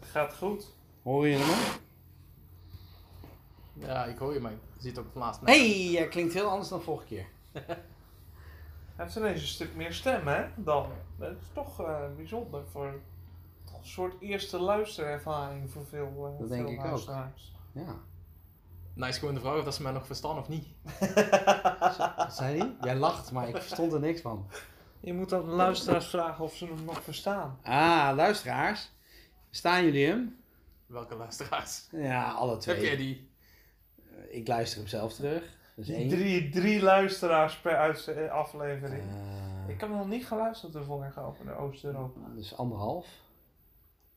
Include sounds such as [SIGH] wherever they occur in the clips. Gaat goed. Hoor je hem? Ja, ik hoor je, maar ik zit ook naast mij. Hé, hey, jij klinkt heel anders dan vorige keer. Hij heeft ineens een stuk meer stem, hè? Dan. Dat is toch eh, bijzonder voor toch een soort eerste luisterervaring voor veel, eh, Dat veel denk ik ook. luisteraars. Ja. Nou is gewoon de vraag of dat ze mij nog verstaan of niet. Wat zei hij? Jij lacht, maar ik verstond er niks van. Je moet aan de luisteraars vragen of ze hem nog verstaan. Ah, luisteraars. Staan jullie hem? Welke luisteraars? Ja, alle twee. Heb jij die? Ik luister hem zelf terug. Dus één. Drie, drie luisteraars per uitz- aflevering. Eh, Ik heb nog niet geluisterd de vorige over de Oost-Europa. dus anderhalf.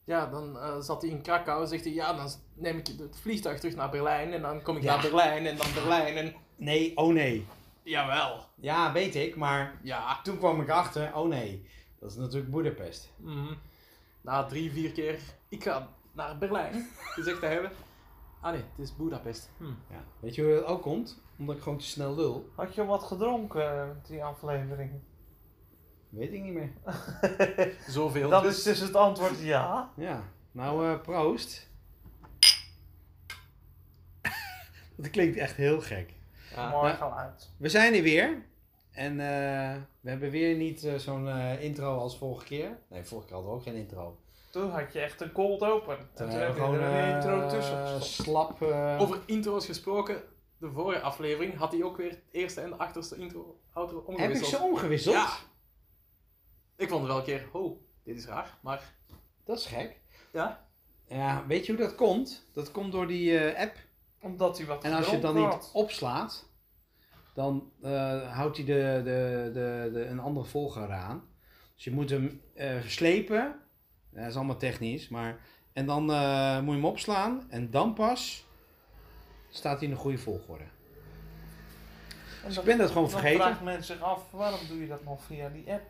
Ja, dan eh, zat hij in Krakau zegt hij, ja, dan neem ik het vliegtuig terug naar Berlijn en dan kom ik Ja. naar Berlijn en dan Berlijn en... Nee, oh nee. Jawel, Ja, weet ik, maar ja. toen kwam ik achter, oh nee. Dat is natuurlijk Boedapest. Mhm. Na drie, vier keer, ik ga naar Berlijn, gezegd te hebben. Ah nee, het is Budapest. Hm. Ja. Weet je hoe dat ook komt? Omdat ik gewoon te snel lul. Had je al wat gedronken, eh, met die aflevering? Weet ik niet meer. Zoveel. Dat is dus het antwoord ja. Ja. Nou, eh, proost. [LAUGHS] dat klinkt echt heel gek. Ja. Mooi geluid. Nou, We zijn er weer. En eh, we hebben weer niet eh, zo'n eh, intro als vorige keer. Nee, vorige keer hadden we ook geen intro. Toen had je echt een cold open. En toen heb je er een eh, intro tussen gestopt. slap. eh, Over intro's gesproken, de vorige aflevering had hij ook weer het eerste en de achterste intro auto heb omgewisseld. ik ze omgewisseld? Ja. Ik vond het wel een keer, ho, dit is raar, maar Dat is gek. Ja? Ja, weet je hoe dat komt? Dat komt door die eh, app. Omdat hij wat En als je het dan gedronken niet opslaat, dan eh, houdt hij de, de, de, de, een andere volger aan. Dus je moet hem eh, slepen. Dat is allemaal technisch, maar. En dan eh, moet je hem opslaan. En dan pas staat hij in de goede volgorde. had. En Dus dan- ik ben dat gewoon dan vergeten. vraagt men zich af, waarom doe je dat nog via die app?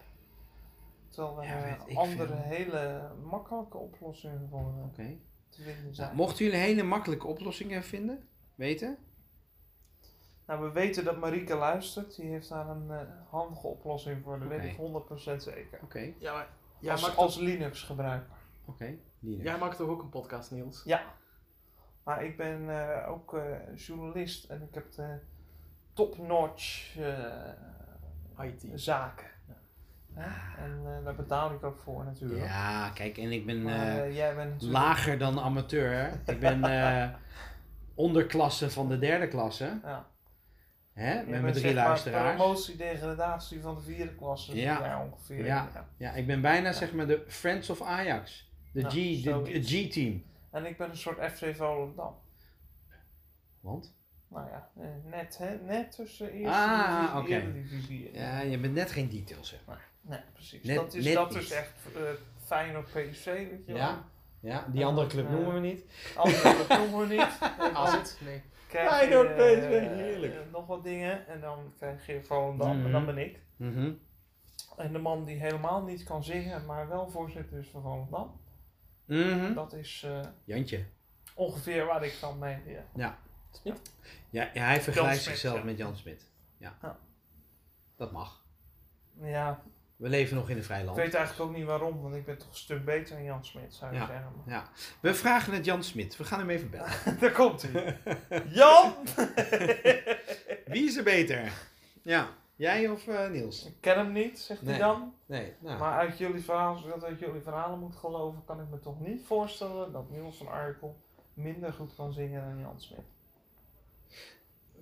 Terwijl we Ja, een weet ik andere veel. hele makkelijke oplossing gevonden Oké. te vinden Nou, zijn. mochten jullie hele makkelijke oplossingen vinden, weten? Nou, we weten dat Marieke luistert. Die heeft daar een eh, handige oplossing voor. Dat weet ik 100% zeker. Oké, ja, maar jij, als maakt, als Linux gebruiker. oké. Linux. jij maakt toch ook een podcast, Niels? Ja. Maar ik ben eh, ook eh, journalist en ik heb de top-notch eh, IT. zaken. Hè? En eh, daar betaal ik ook voor natuurlijk. Ah. Ja, kijk, en ik ben. Maar eh, eh, jij bent natuurlijk... lager dan amateur. Ik ben eh onderklasse van de derde klasse. Ja. Hè? jij Met mijn bent, drie zeg maar, luisteraars. promotie, degradatie van de vierde klasse. Ja. Ja. ongeveer. Ja. Ja, ik ben bijna zeg maar de Friends of Ajax. De Ja, G, de zoiets. G-team. En ik ben een soort FC Volendam. Want? Nou ja, eh, net, hè? net tussen eerste Ah, divisie oké. en divisie. Ja, je bent net geen detail zeg maar. Nee, precies. Net- dat is, net dat iets. is echt eh, fijn op PSV, weet je Ja? Ja, die andere club noemen we niet. wel. Andere dat doen we [LAUGHS] niet. En dan- Als het? Nee. krijg Hij je, doet PSV, eh, heerlijk. eh, nog wat dingen en dan krijg je Volendam en Mhm. dan ben ik. Mhm. En de man die helemaal niet kan zingen, maar wel voorzitter is van Volendam. Mhm. Dat is eh, Jantje. ongeveer waar ik dan mee ja. Ja, ja, hij vergelijkt Smit, zichzelf ja. met Jan Smit. Ja. Ja. Dat mag. ja, We leven nog in een ik vrijland. weet eigenlijk ook niet waarom, want ik ben toch een stuk beter dan Jan Smit, zou je Ja. zeggen. Maar- [LAUGHS] Ja. We vragen het Jan Smit. We gaan hem even bellen. Daar [LAUGHS] komt hij. Jan! Wie is er beter? Ja. Jij of eh, Niels? Ik ken hem niet, zegt Nee. hij dan. Nee. Nou. Maar uit jullie verhalen, als ik dat uit jullie verhalen moet geloven, kan ik me toch niet voorstellen dat Niels van Arkel minder goed kan zingen dan Jan Smit.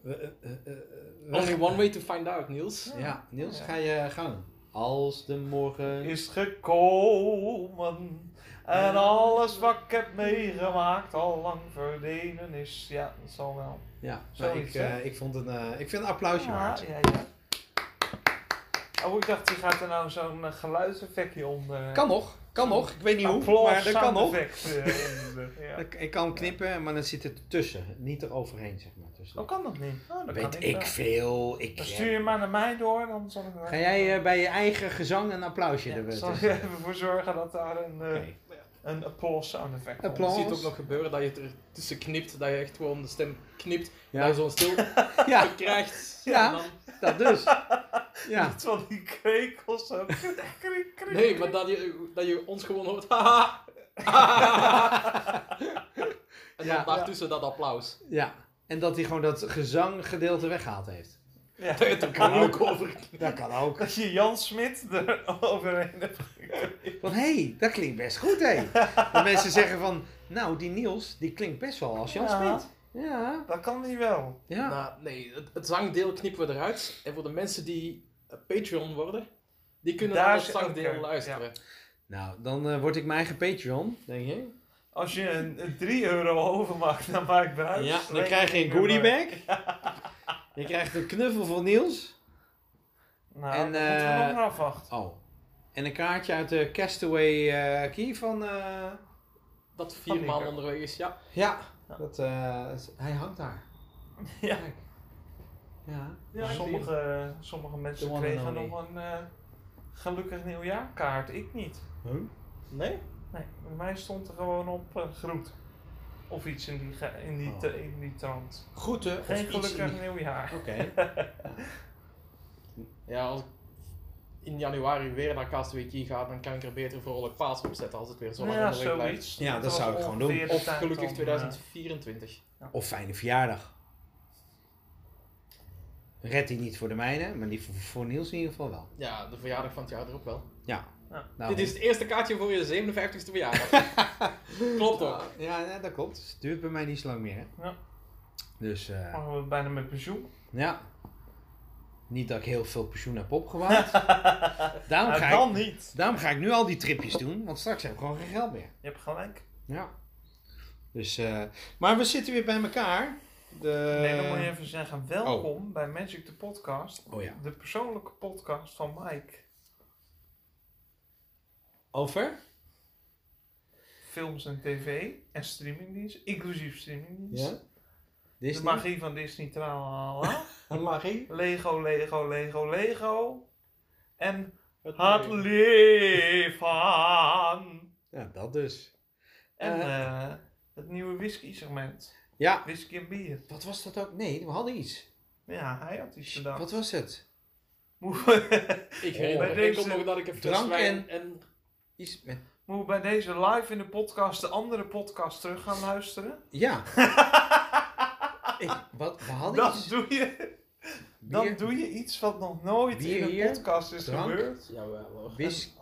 Eh, eh, eh, eh, Only one way to find out, Niels. Ja, Niels, Ja. ga je gang. Als de morgen. is gekomen. En alles wat ik heb meegemaakt al lang verdwenen is. Ja, dat zal wel. Ja, maar Zoiets, ik, eh, hè? ik vond een, eh, ik vind een applausje Ja, waard. ja, ja. Oh, ik dacht, die gaat er nou zo'n eh, geluidseffectje onder. eh, Kan nog, kan nog. Ik weet niet hoe, Applaus, maar dat kan nog. soundeffect, eh, onder. ja. Ik, ik kan knippen, maar dan zit het ertussen. Niet eroverheen, zeg maar. Dus Oh, kan dat niet? Oh, dat weet kan ik wel. veel. Ik, eh, Dan stuur je maar naar mij door, dan zal ik er Ga jij eh, bij je eigen gezang een applausje Ja, erbij zal ik tussen? er even voor zorgen dat daar een eh, Oké. een applause sound effect onder. [LAUGHS] Applaus. Je ziet ook nog gebeuren dat je het er tussen knipt, dat je echt gewoon de stem knipt, Ja. dat je zo'n stil Ja, krijgt. Ja. En dan- dat dus. Ja, Iets van die krekels. zo. [LAUGHS] Krik, krik, krik. Nee, maar dat je, dat je ons gewoon hoort. [LAUGHS] Haha. Haha. en dan Ja. daartussen dat applaus. [LAUGHS] ja. En dat hij gewoon dat gezanggedeelte weggehaald heeft. Ja. Daar heb ik er ook [LAUGHS] over. Dat kan ook. [LAUGHS] Dat je Jan Smit er [LAUGHS] overheen hebt geknipt. Want hé, hey, dat klinkt best goed hé. Dat mensen zeggen van, nou die Niels, die klinkt best wel als Jan Ja. Smit. Ja, Dat kan niet wel. ja. Nou, nee, het, het zangdeel knippen we eruit. En voor de mensen die eh, Patreon worden, die kunnen Daar naar het is- zangdeel oké, luisteren. Nou, dan eh, word ik mijn eigen Patreon, denk je? Als je een, een 3 euro overmaakt, dan maak ik eruit. Ja, dan krijg je een goodiebag. [LAUGHS] Je krijgt een knuffel van Niels. Nou, En, en, dat moeten we eh, nog maar afwachten. Oh. En een kaartje uit de Castaway eh, Key van... eh, Dat Van vier maanden Nico. onderweg is, ja. Ja, Ja. dat, eh, is- hij hangt daar. Ja. Kijk. Ja. Ja, ik zie sommige, sommige The mensen one and kregen only. nog een eh, gelukkig nieuwjaarkaart. Ik niet. Nee? Nee, bij mij stond er gewoon op eh, groet. Of iets in die, ge- in die, Oh. te- in die trant. Groeten. of Geen iets in gelukkig die- nieuwjaar. Oké. Ja, als ik in januari weer naar Castaway Key ga, dan kan ik er beter vrolijk paas op zetten als het weer zo lang ja, onderweg blijft. zoiets. Ja, dat was zou ik gewoon doen. ongeveer de Of tijd gelukkig om, 2024. Of fijne verjaardag. Red die niet voor de mijne, maar die voor, voor Niels in ieder geval wel. Ja, de verjaardag van het jaar erop wel. Ja. Ja. Nou, Dit is het eerste kaartje voor je 57 e [LAUGHS] verjaardag. Klopt ook. Ja, ja, dat klopt. Dus het duurt bij mij niet zo lang meer. Hè? Ja. Dus eh, eh, mogen we bijna met pensioen. ja. Niet dat ik heel veel pensioen heb [LAUGHS] opgewaard. daarom, Nou, ga dan ik, niet. daarom ga ik nu al die tripjes doen, want straks heb ik gewoon geen geld meer. Je hebt gelijk. Ja. Dus, eh, maar we zitten weer bij elkaar. De... nee, dan moet je even zeggen, welkom bij Magic the Podcast. Eh, Oh ja. De persoonlijke podcast van Mike. Over? Films en tv en streamingdienst, inclusief Ja. streamingdienst. De Disney. magie van Disney, tralala. Magie. [LAUGHS] Lego, Lego, Lego, Lego. En Het het mooie. leven. Ja, dat dus. En Eh. eh, het nieuwe whisky segment. Ja. Whisky en bier. Wat was dat ook? Nee, we hadden iets. Ja, hij had iets gedaan. Wat was het? Moet we- [LAUGHS] Ik Bij herinner me Oh. deze ook nog dat ik een fles drank wijn en... Iets met... Moeten we bij deze live in de podcast de andere podcast terug gaan luisteren? [LAUGHS] Ja. Ik, wat, we hadden Dan iets. doe, je, dan Bier, doe je iets wat nog nooit Bier in een hier, podcast is drank. gebeurd. Jawel [LAUGHS] hoor. Whis-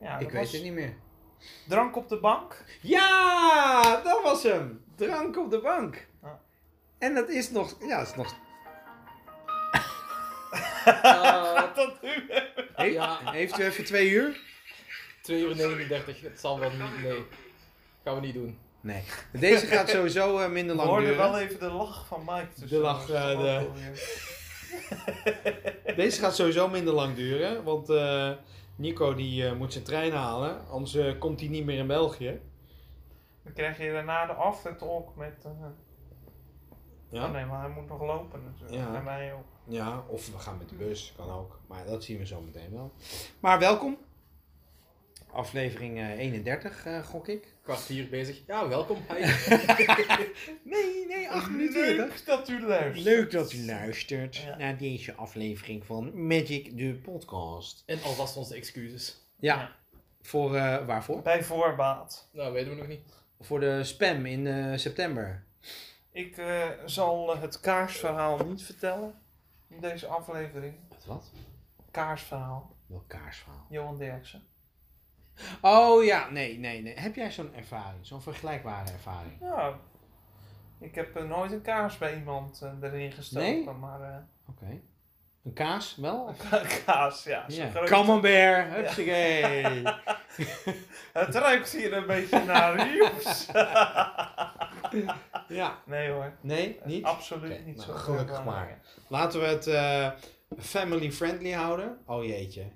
Ja, ik dat weet was het niet meer. Drank op de bank. Ja, dat was hem. Drank op de bank. Ja. En dat is nog... Ja, dat is nog... Eh, Dat nu. He- Ja. Heeft u even twee uur? 2 uur 39, het zal wel niet, nee. Gaan we niet doen. Nee. Deze gaat sowieso eh, minder We lang hoorden duren. wel even de lach van Mike. tussen lach, ons. eh, de- Deze gaat sowieso minder lang duren, want eh, Nico die eh, moet zijn trein halen, anders eh, komt hij niet meer in België. Dan krijg je daarna de after talk met... eh, oh nee, maar hij moet nog lopen natuurlijk. Ja. En wij ook. ja, of we gaan met de bus, kan ook. Maar dat zien we zo meteen wel. Maar welkom. Aflevering eh, 31, eh, gok ik. Kwartier bezig. Ja, welkom. Hi. Nee, nee, 8 minuten eerder. Leuk dat u luistert. Leuk dat u luistert Ja. naar deze aflevering van Magic de Podcast. En alvast onze excuses. Ja, Ja. voor eh, waarvoor? Bij voorbaat. Nou, weten we nog niet. Voor de spam in eh, september. Ik eh, zal het kaarsverhaal niet vertellen. In deze aflevering. Wat wat? Kaarsverhaal. Welk kaarsverhaal? Johan Derksen. Oh ja, nee, nee, nee. Heb jij zo'n ervaring, zo'n vergelijkbare ervaring? Ja. Ik heb eh, nooit een kaars bij iemand eh, erin gestoken. Nee? Maar eh, [LAUGHS] Oké. Een kaas wel? kaas, ja. zo Ja. groot. Camembert, hupsakee. [LAUGHS] Het ruikt hier een beetje [LAUGHS] naar Rieps. ja. Nee hoor. Nee, niet? Absoluut Oké, niet nou, zo. gelukkig ervaring. maar. Laten we het eh, family friendly houden. Oh jeetje.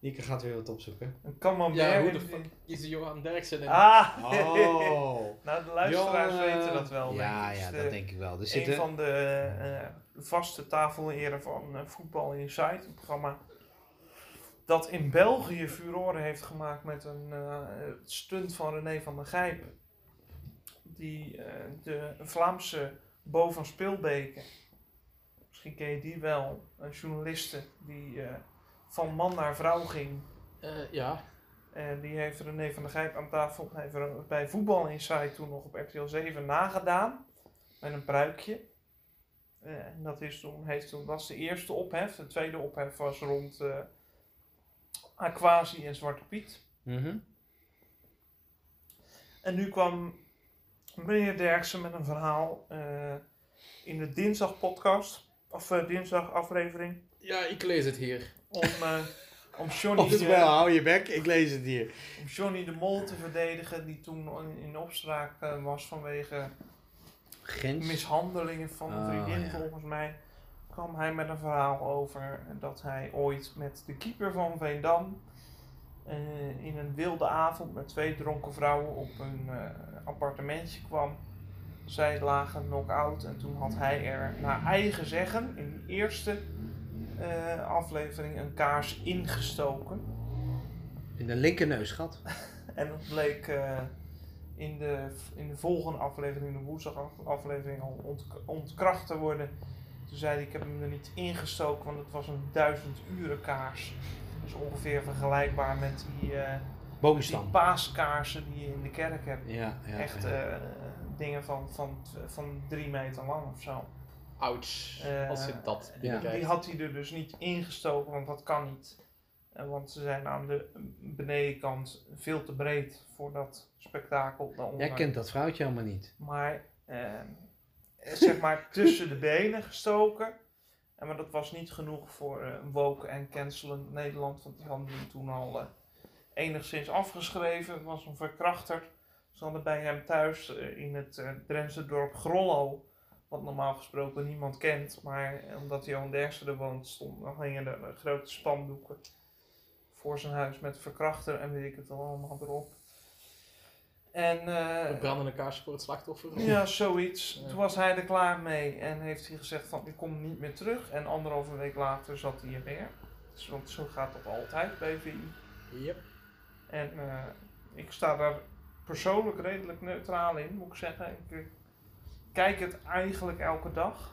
Nieke gaat weer wat opzoeken. [LAUGHS] Een camembert. Ja, hoe de in- fuck is de Johan Derksen? En... Ah! Oh. nou, de luisteraars Johan, eh, weten dat wel. Ja, ja, denk ik. Het is dat de- denk ik wel. Er Een zitten... van de eh, vaste tafelheren van eh, Voetbal Insight, een programma dat in België furore heeft gemaakt met een eh, stunt van René van der Gijp. Die eh, de Vlaamse Bo van Spilbeke, misschien ken je die wel, een journaliste die eh, van man naar vrouw ging. Eh, ja. En die heeft René van der Gijp aan tafel heeft er bij Voetbal Insight toen nog op RTL 7 nagedaan. Met een pruikje. Eh, en dat is toen, heeft toen, was de eerste ophef. De tweede ophef was rond eh Aquasi en Zwarte Piet. Mhm. En nu kwam meneer Derksen met een verhaal eh, in de dinsdag podcast. Of eh, dinsdag aflevering. Ja, ik lees het hier. Om, eh, om Johnny te- Oftewel, hou je bek, ik lees het hier. om Johnny de Mol te verdedigen, die toen in- in opspraak eh, was vanwege Gens. mishandelingen van een Oh, vriendin, ja. volgens mij, kwam hij met een verhaal over dat hij ooit met de keeper van Veendam eh, in een wilde avond met twee dronken vrouwen op een eh, appartementje kwam. Zij lagen knock-out en toen had hij er naar eigen zeggen in de eerste eh, aflevering een kaars ingestoken. In de linkerneusgat. En dat bleek eh, in, de, in de volgende aflevering, de woensdagaflevering, al ont, ontkracht te worden. Toen zei hij, ik heb hem er niet ingestoken, want het was een duizend uren kaars. Dat is ongeveer vergelijkbaar met die, eh die Boomstam. paaskaarsen die je in de kerk hebt. Ja, ja. Echt ja. eh, dingen van, van, van drie meter lang of zo. Ouch. Eh, als je dat binnenkijkt. Die had hij er dus niet ingestoken, want dat kan niet. Eh, Want ze zijn aan de benedenkant veel te breed voor dat spektakel daaronder. Jij kent dat vrouwtje helemaal niet. Maar eh, zeg maar [LAUGHS] tussen de benen gestoken. En, maar dat was niet genoeg voor eh woke en cancelend Nederland. Want die hadden hem toen al eh, enigszins afgeschreven. Het was een verkrachter. Ze hadden bij hem thuis eh, in het eh Drentse dorp Grollo. Wat normaal gesproken niemand kent. Maar eh, omdat Johan Derksen er woont, stond, dan hingen er eh, grote spandoeken voor zijn huis met verkrachter en weet ik het al allemaal erop. En, eh, Een brandende kaars voor het slachtoffer. ja, zoiets. Ja. Toen was hij er klaar mee en heeft hij gezegd van ik kom niet meer terug. En anderhalve week later zat hij er weer. Dus, want zo gaat dat altijd bij VI. Yep. En eh, ik sta daar persoonlijk redelijk neutraal in, moet ik zeggen. Ik eh, kijk het eigenlijk elke dag.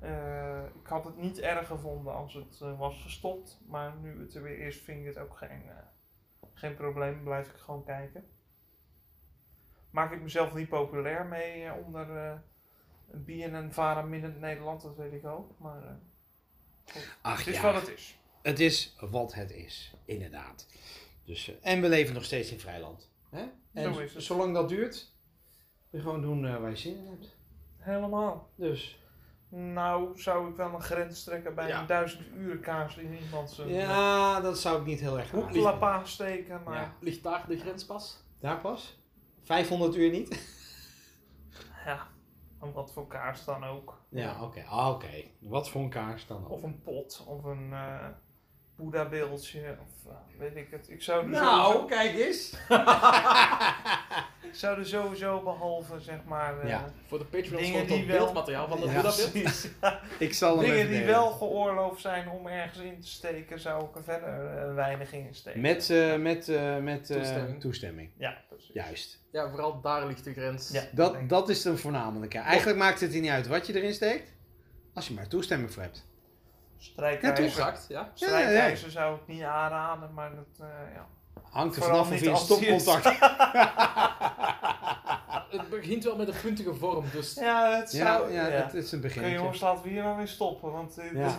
Eh, ik had het niet erg gevonden als het eh, was gestopt. Maar nu het er weer is, vind ik het ook geen, eh, geen probleem. Blijf ik gewoon kijken. Maak ik mezelf niet populair mee eh, onder eh, BNN Vara Midden Nederland, dat weet ik ook. Maar eh, Ach het is ja, wat het is. het is wat het is, inderdaad. Dus, eh, en we leven nog steeds in vrijland. Hè? En Zo is het. zolang dat duurt, we gewoon doen eh, waar je zin in hebt. Helemaal. Dus. Nou, zou ik wel een grens trekken bij Ja. een duizend uren kaars in iemand zijn ja. Ja, dat zou ik niet heel erg aanraden. hoeklapa steken, maar Ja. ja. Ligt daar de grens pas? Daar pas? 500 uur niet? en wat voor kaars dan ook. Ja, oké. Ah, Oké. Wat voor een kaars dan ook. Of een pot, of een eh boeddha-beeldje, of eh, weet ik het. Ik zou, er Nou. sowieso, kijk eens. ik zou er sowieso behalve, zeg maar, eh, Ja. Voor de Patreons Dingen wordt die dat wel- beeldmateriaal van dat Ja, ja, precies. ik zal hem dingen even die delen. wel geoorloofd zijn om ergens in te steken, zou ik er verder eh, weinig in steken. Met, eh, met, eh, met eh, Toestemming. toestemming. Ja, precies. Juist. Ja, vooral daar ligt de grens. Ja, denk Dat, ik. dat is de voornamelijke. Eigenlijk maakt het hier niet uit wat je erin steekt. Als je maar toestemming voor hebt. Strijkijzer. Ja, toch? Exact, ja. Strijkijzer zou ik niet aanraden, maar dat, eh, ja. Hangt er vanaf Vooral of niet je een als die is. [LAUGHS] stopcontact... Het begint wel met een puntige vorm, dus Ja, het Ja, zou... ja, ja. het is een Oké jongens, begin. laten we hier maar weer stoppen, want eh, Ja. dit,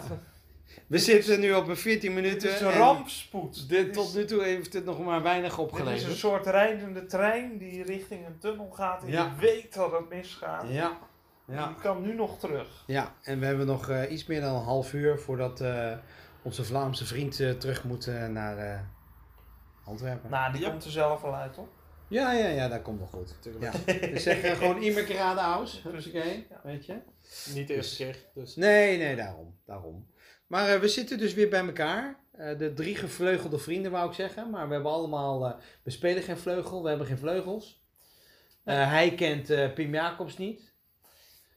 We zitten nu op een 14 dit minuten. is een en rampspoed. Dit, is- tot nu toe heeft het nog maar weinig dit is een opgeleverd. soort rijdende trein die richting een tunnel gaat en Ja. je weet dat het misgaat. Ja. ja. Die kan nu nog terug. Ja, en we hebben nog eh, iets meer dan een half uur voordat eh, onze Vlaamse vriend eh, terug moet eh, naar eh, Antwerpen. Nou, die Ja. komt er zelf wel uit, hoor. Ja, ja, ja, dat komt wel goed. Ja. Tuurlijk. Dus zeg [LAUGHS] eh, gewoon immer kerade aus. dus Precies. Oké, Ja. weet je? niet de eerste keer. Dus. Nee, nee, daarom. daarom. Maar eh, we zitten dus weer bij elkaar. Eh, de drie gevleugelde vrienden wou ik zeggen. Maar we hebben allemaal... eh, we spelen geen vleugel, we hebben geen vleugels. Eh, hij kent eh, Pim Jacobs niet.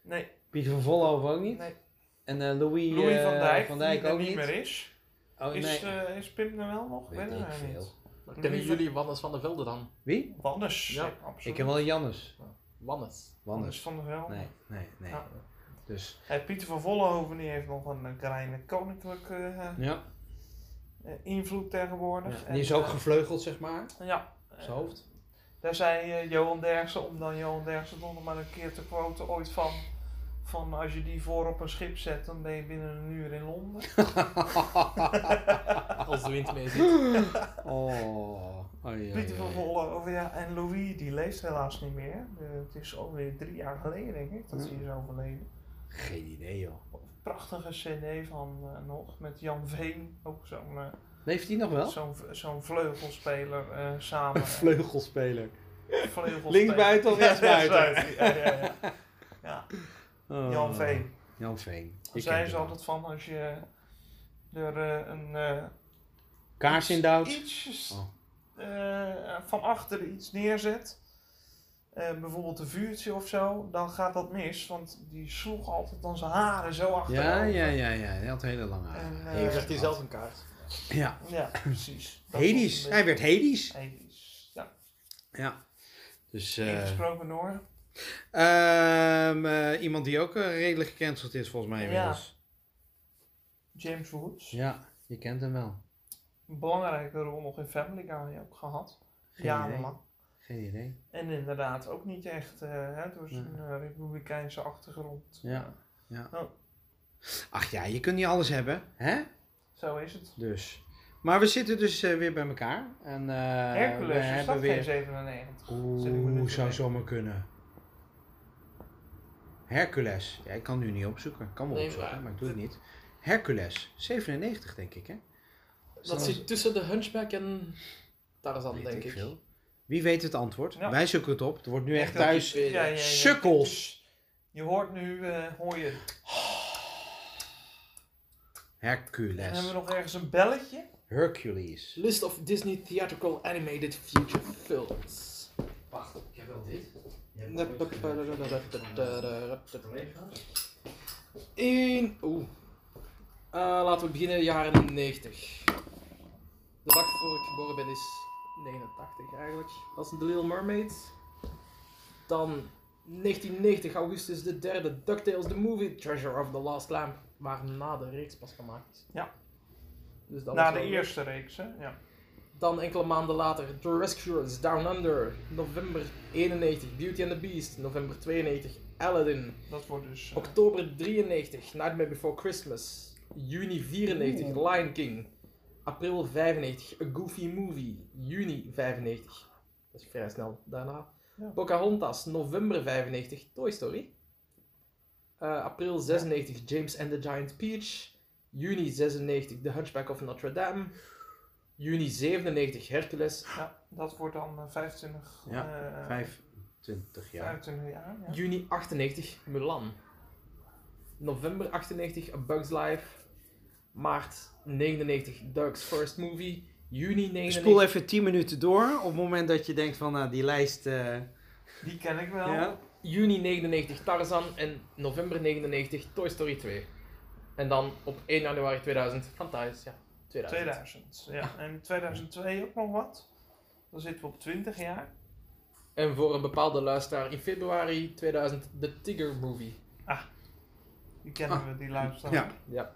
Nee, Pieter van Vollenhoven ook niet. nee. En eh, Louis, Louis eh, van Dijk, van Dijk die er ook niet niet. meer is. Oh, Is, nee. eh, is Pim er wel nog? Weet Weet ik ik veel. niet. Maar kennen jullie Wannes van der Velde dan? Wie? Wannes. Ja. Ja, absoluut. Ik ken wel een Jannes. Wannes. Wannes Wannes. van der Velde. Nee, nee, nee. Ja. Dus, Hey, Pieter van Vollenhoven die heeft nog een eh, kleine koninklijke eh, ja. eh, invloed tegenwoordig. Die is En, ook eh, gevleugeld, zeg maar. Ja. eh, Zijn hoofd. Daar zei eh, Johan Derksen, om dan Johan Derksen nog maar een keer te quoten ooit van... Van als je die voor op een schip zet, dan ben je binnen een uur in Londen. Als de [LAUGHS] wind mee zit. Oh. Ai, ai, Pieter van ai. Vollenhoven, ja. En Louis, die leeft helaas niet meer. Eh, het is alweer drie jaar geleden, denk ik, dat Ja. hij is overleden. Geen idee, joh. prachtige CD van eh, nog met Jan Veen, ook zo'n eh, Leeft die nog wel? zo'n zo'n vleugelspeler eh, [LAUGHS] samen. Een vleugelspeler. vleugelspeler. Linksbuiten of Ja, rechtsbuiten? Ja, ja, ja. [LAUGHS] Ja, Oh. Jan Veen. Jan Veen. Daar Ik zijn ken ze hem. altijd van als je er eh, een eh, Kaars in Duits. iets Oh. eh, van achter iets neerzet. eh, bijvoorbeeld een vuurtje of zo, dan gaat dat mis, want die sloeg altijd dan zijn haren zo achter. Ja, ja, ja, ja. Hij had hele lange En, haren. eh, Heeft krijgt Krijgt hij gehad. zelf een kaart? Ja. ja, precies. Dat was Hades. een Hij werd Hades. beetje- Hades. Ja, Ja. Dus eh, ingesproken door. ehm, eh, iemand die ook eh, redelijk gecanceld is volgens mij Ja. inmiddels. James Woods. Ja, je kent hem wel. Een belangrijke rol nog in Family Guy ook gehad. Geen idee. Jarenlang. Geen idee. En inderdaad ook niet echt eh, hè, door zijn eh, republikeinse achtergrond. Ja. Ja. Oh. Ach ja, je kunt niet alles hebben, hè? Zo is het. Dus. Maar we zitten dus eh, weer bij elkaar. En, eh we Hercules is hebben dat geen weer... 97. Zit ik me nu Oeh, te zou denken. zomaar kunnen. Hercules. Ja, ik kan nu niet opzoeken. Ik kan wel Nee, opzoeken, maar, maar- ik doe het niet. Hercules. 97 denk ik, hè? Dat zit tussen de Hunchback en Tarzan, Weet denk ik. veel. Wie weet het antwoord? Ja. Wij zoeken het op. Het wordt nu echt wil thuis. die- Ja, ja, ja. Sukkels. Je hoort nu, eh, hoor je. het. En hebben we Hercules. nog ergens een belletje? Hercules. List of Disney Theatrical Animated Future Films. Wacht, ik heb wel dit. In. Oeh. Eh, laten we beginnen, jaren 90. De dag voor ik geboren ben is 89 eigenlijk. Dat is The Little Mermaid. Dan 1990, augustus de 3e, DuckTales The Movie, Treasure of the Last Lamp. Waarna de reeks pas gemaakt is. Ja. Dus dat Na was de wel- eerste reeks, hè? Ja. dan enkele maanden later The Rescuers Down Under, november 91 Beauty and the Beast, november 92 Aladdin, Dat wordt dus. eh, oktober 93 Nightmare Before Christmas, juni 94 Lion King, april 95 A Goofy Movie, juni 95, dat is vrij snel daarna, Ja. Pocahontas, november 95 Toy Story, Eh, april 96 James and the Giant Peach, juni 96 The Hunchback of Notre Dame, juni 97 Hercules, ja, dat wordt dan eh, 25, Ja, eh, 25 jaar. 25 jaar. Ja. Juni 98, Milan. November 98, A Bug's Life. Maart 99, Doug's First Movie. Juni Ik spoel 99, even 10 minuten door. Op het moment dat je denkt van nou, die lijst. eh, Die ken ik wel. ja. juni 99 Tarzan. En november 99, Toy Story 2. En dan op 1 januari 2000, Fantastisch, ja. 2000. 2000. Ja. En 2002 ook nog wat. Dan zitten we op 20 jaar. En voor een bepaalde luisteraar in februari 2000, The Tiger Movie. Die kennen Ah. we, die luisteren. Ja. Ja.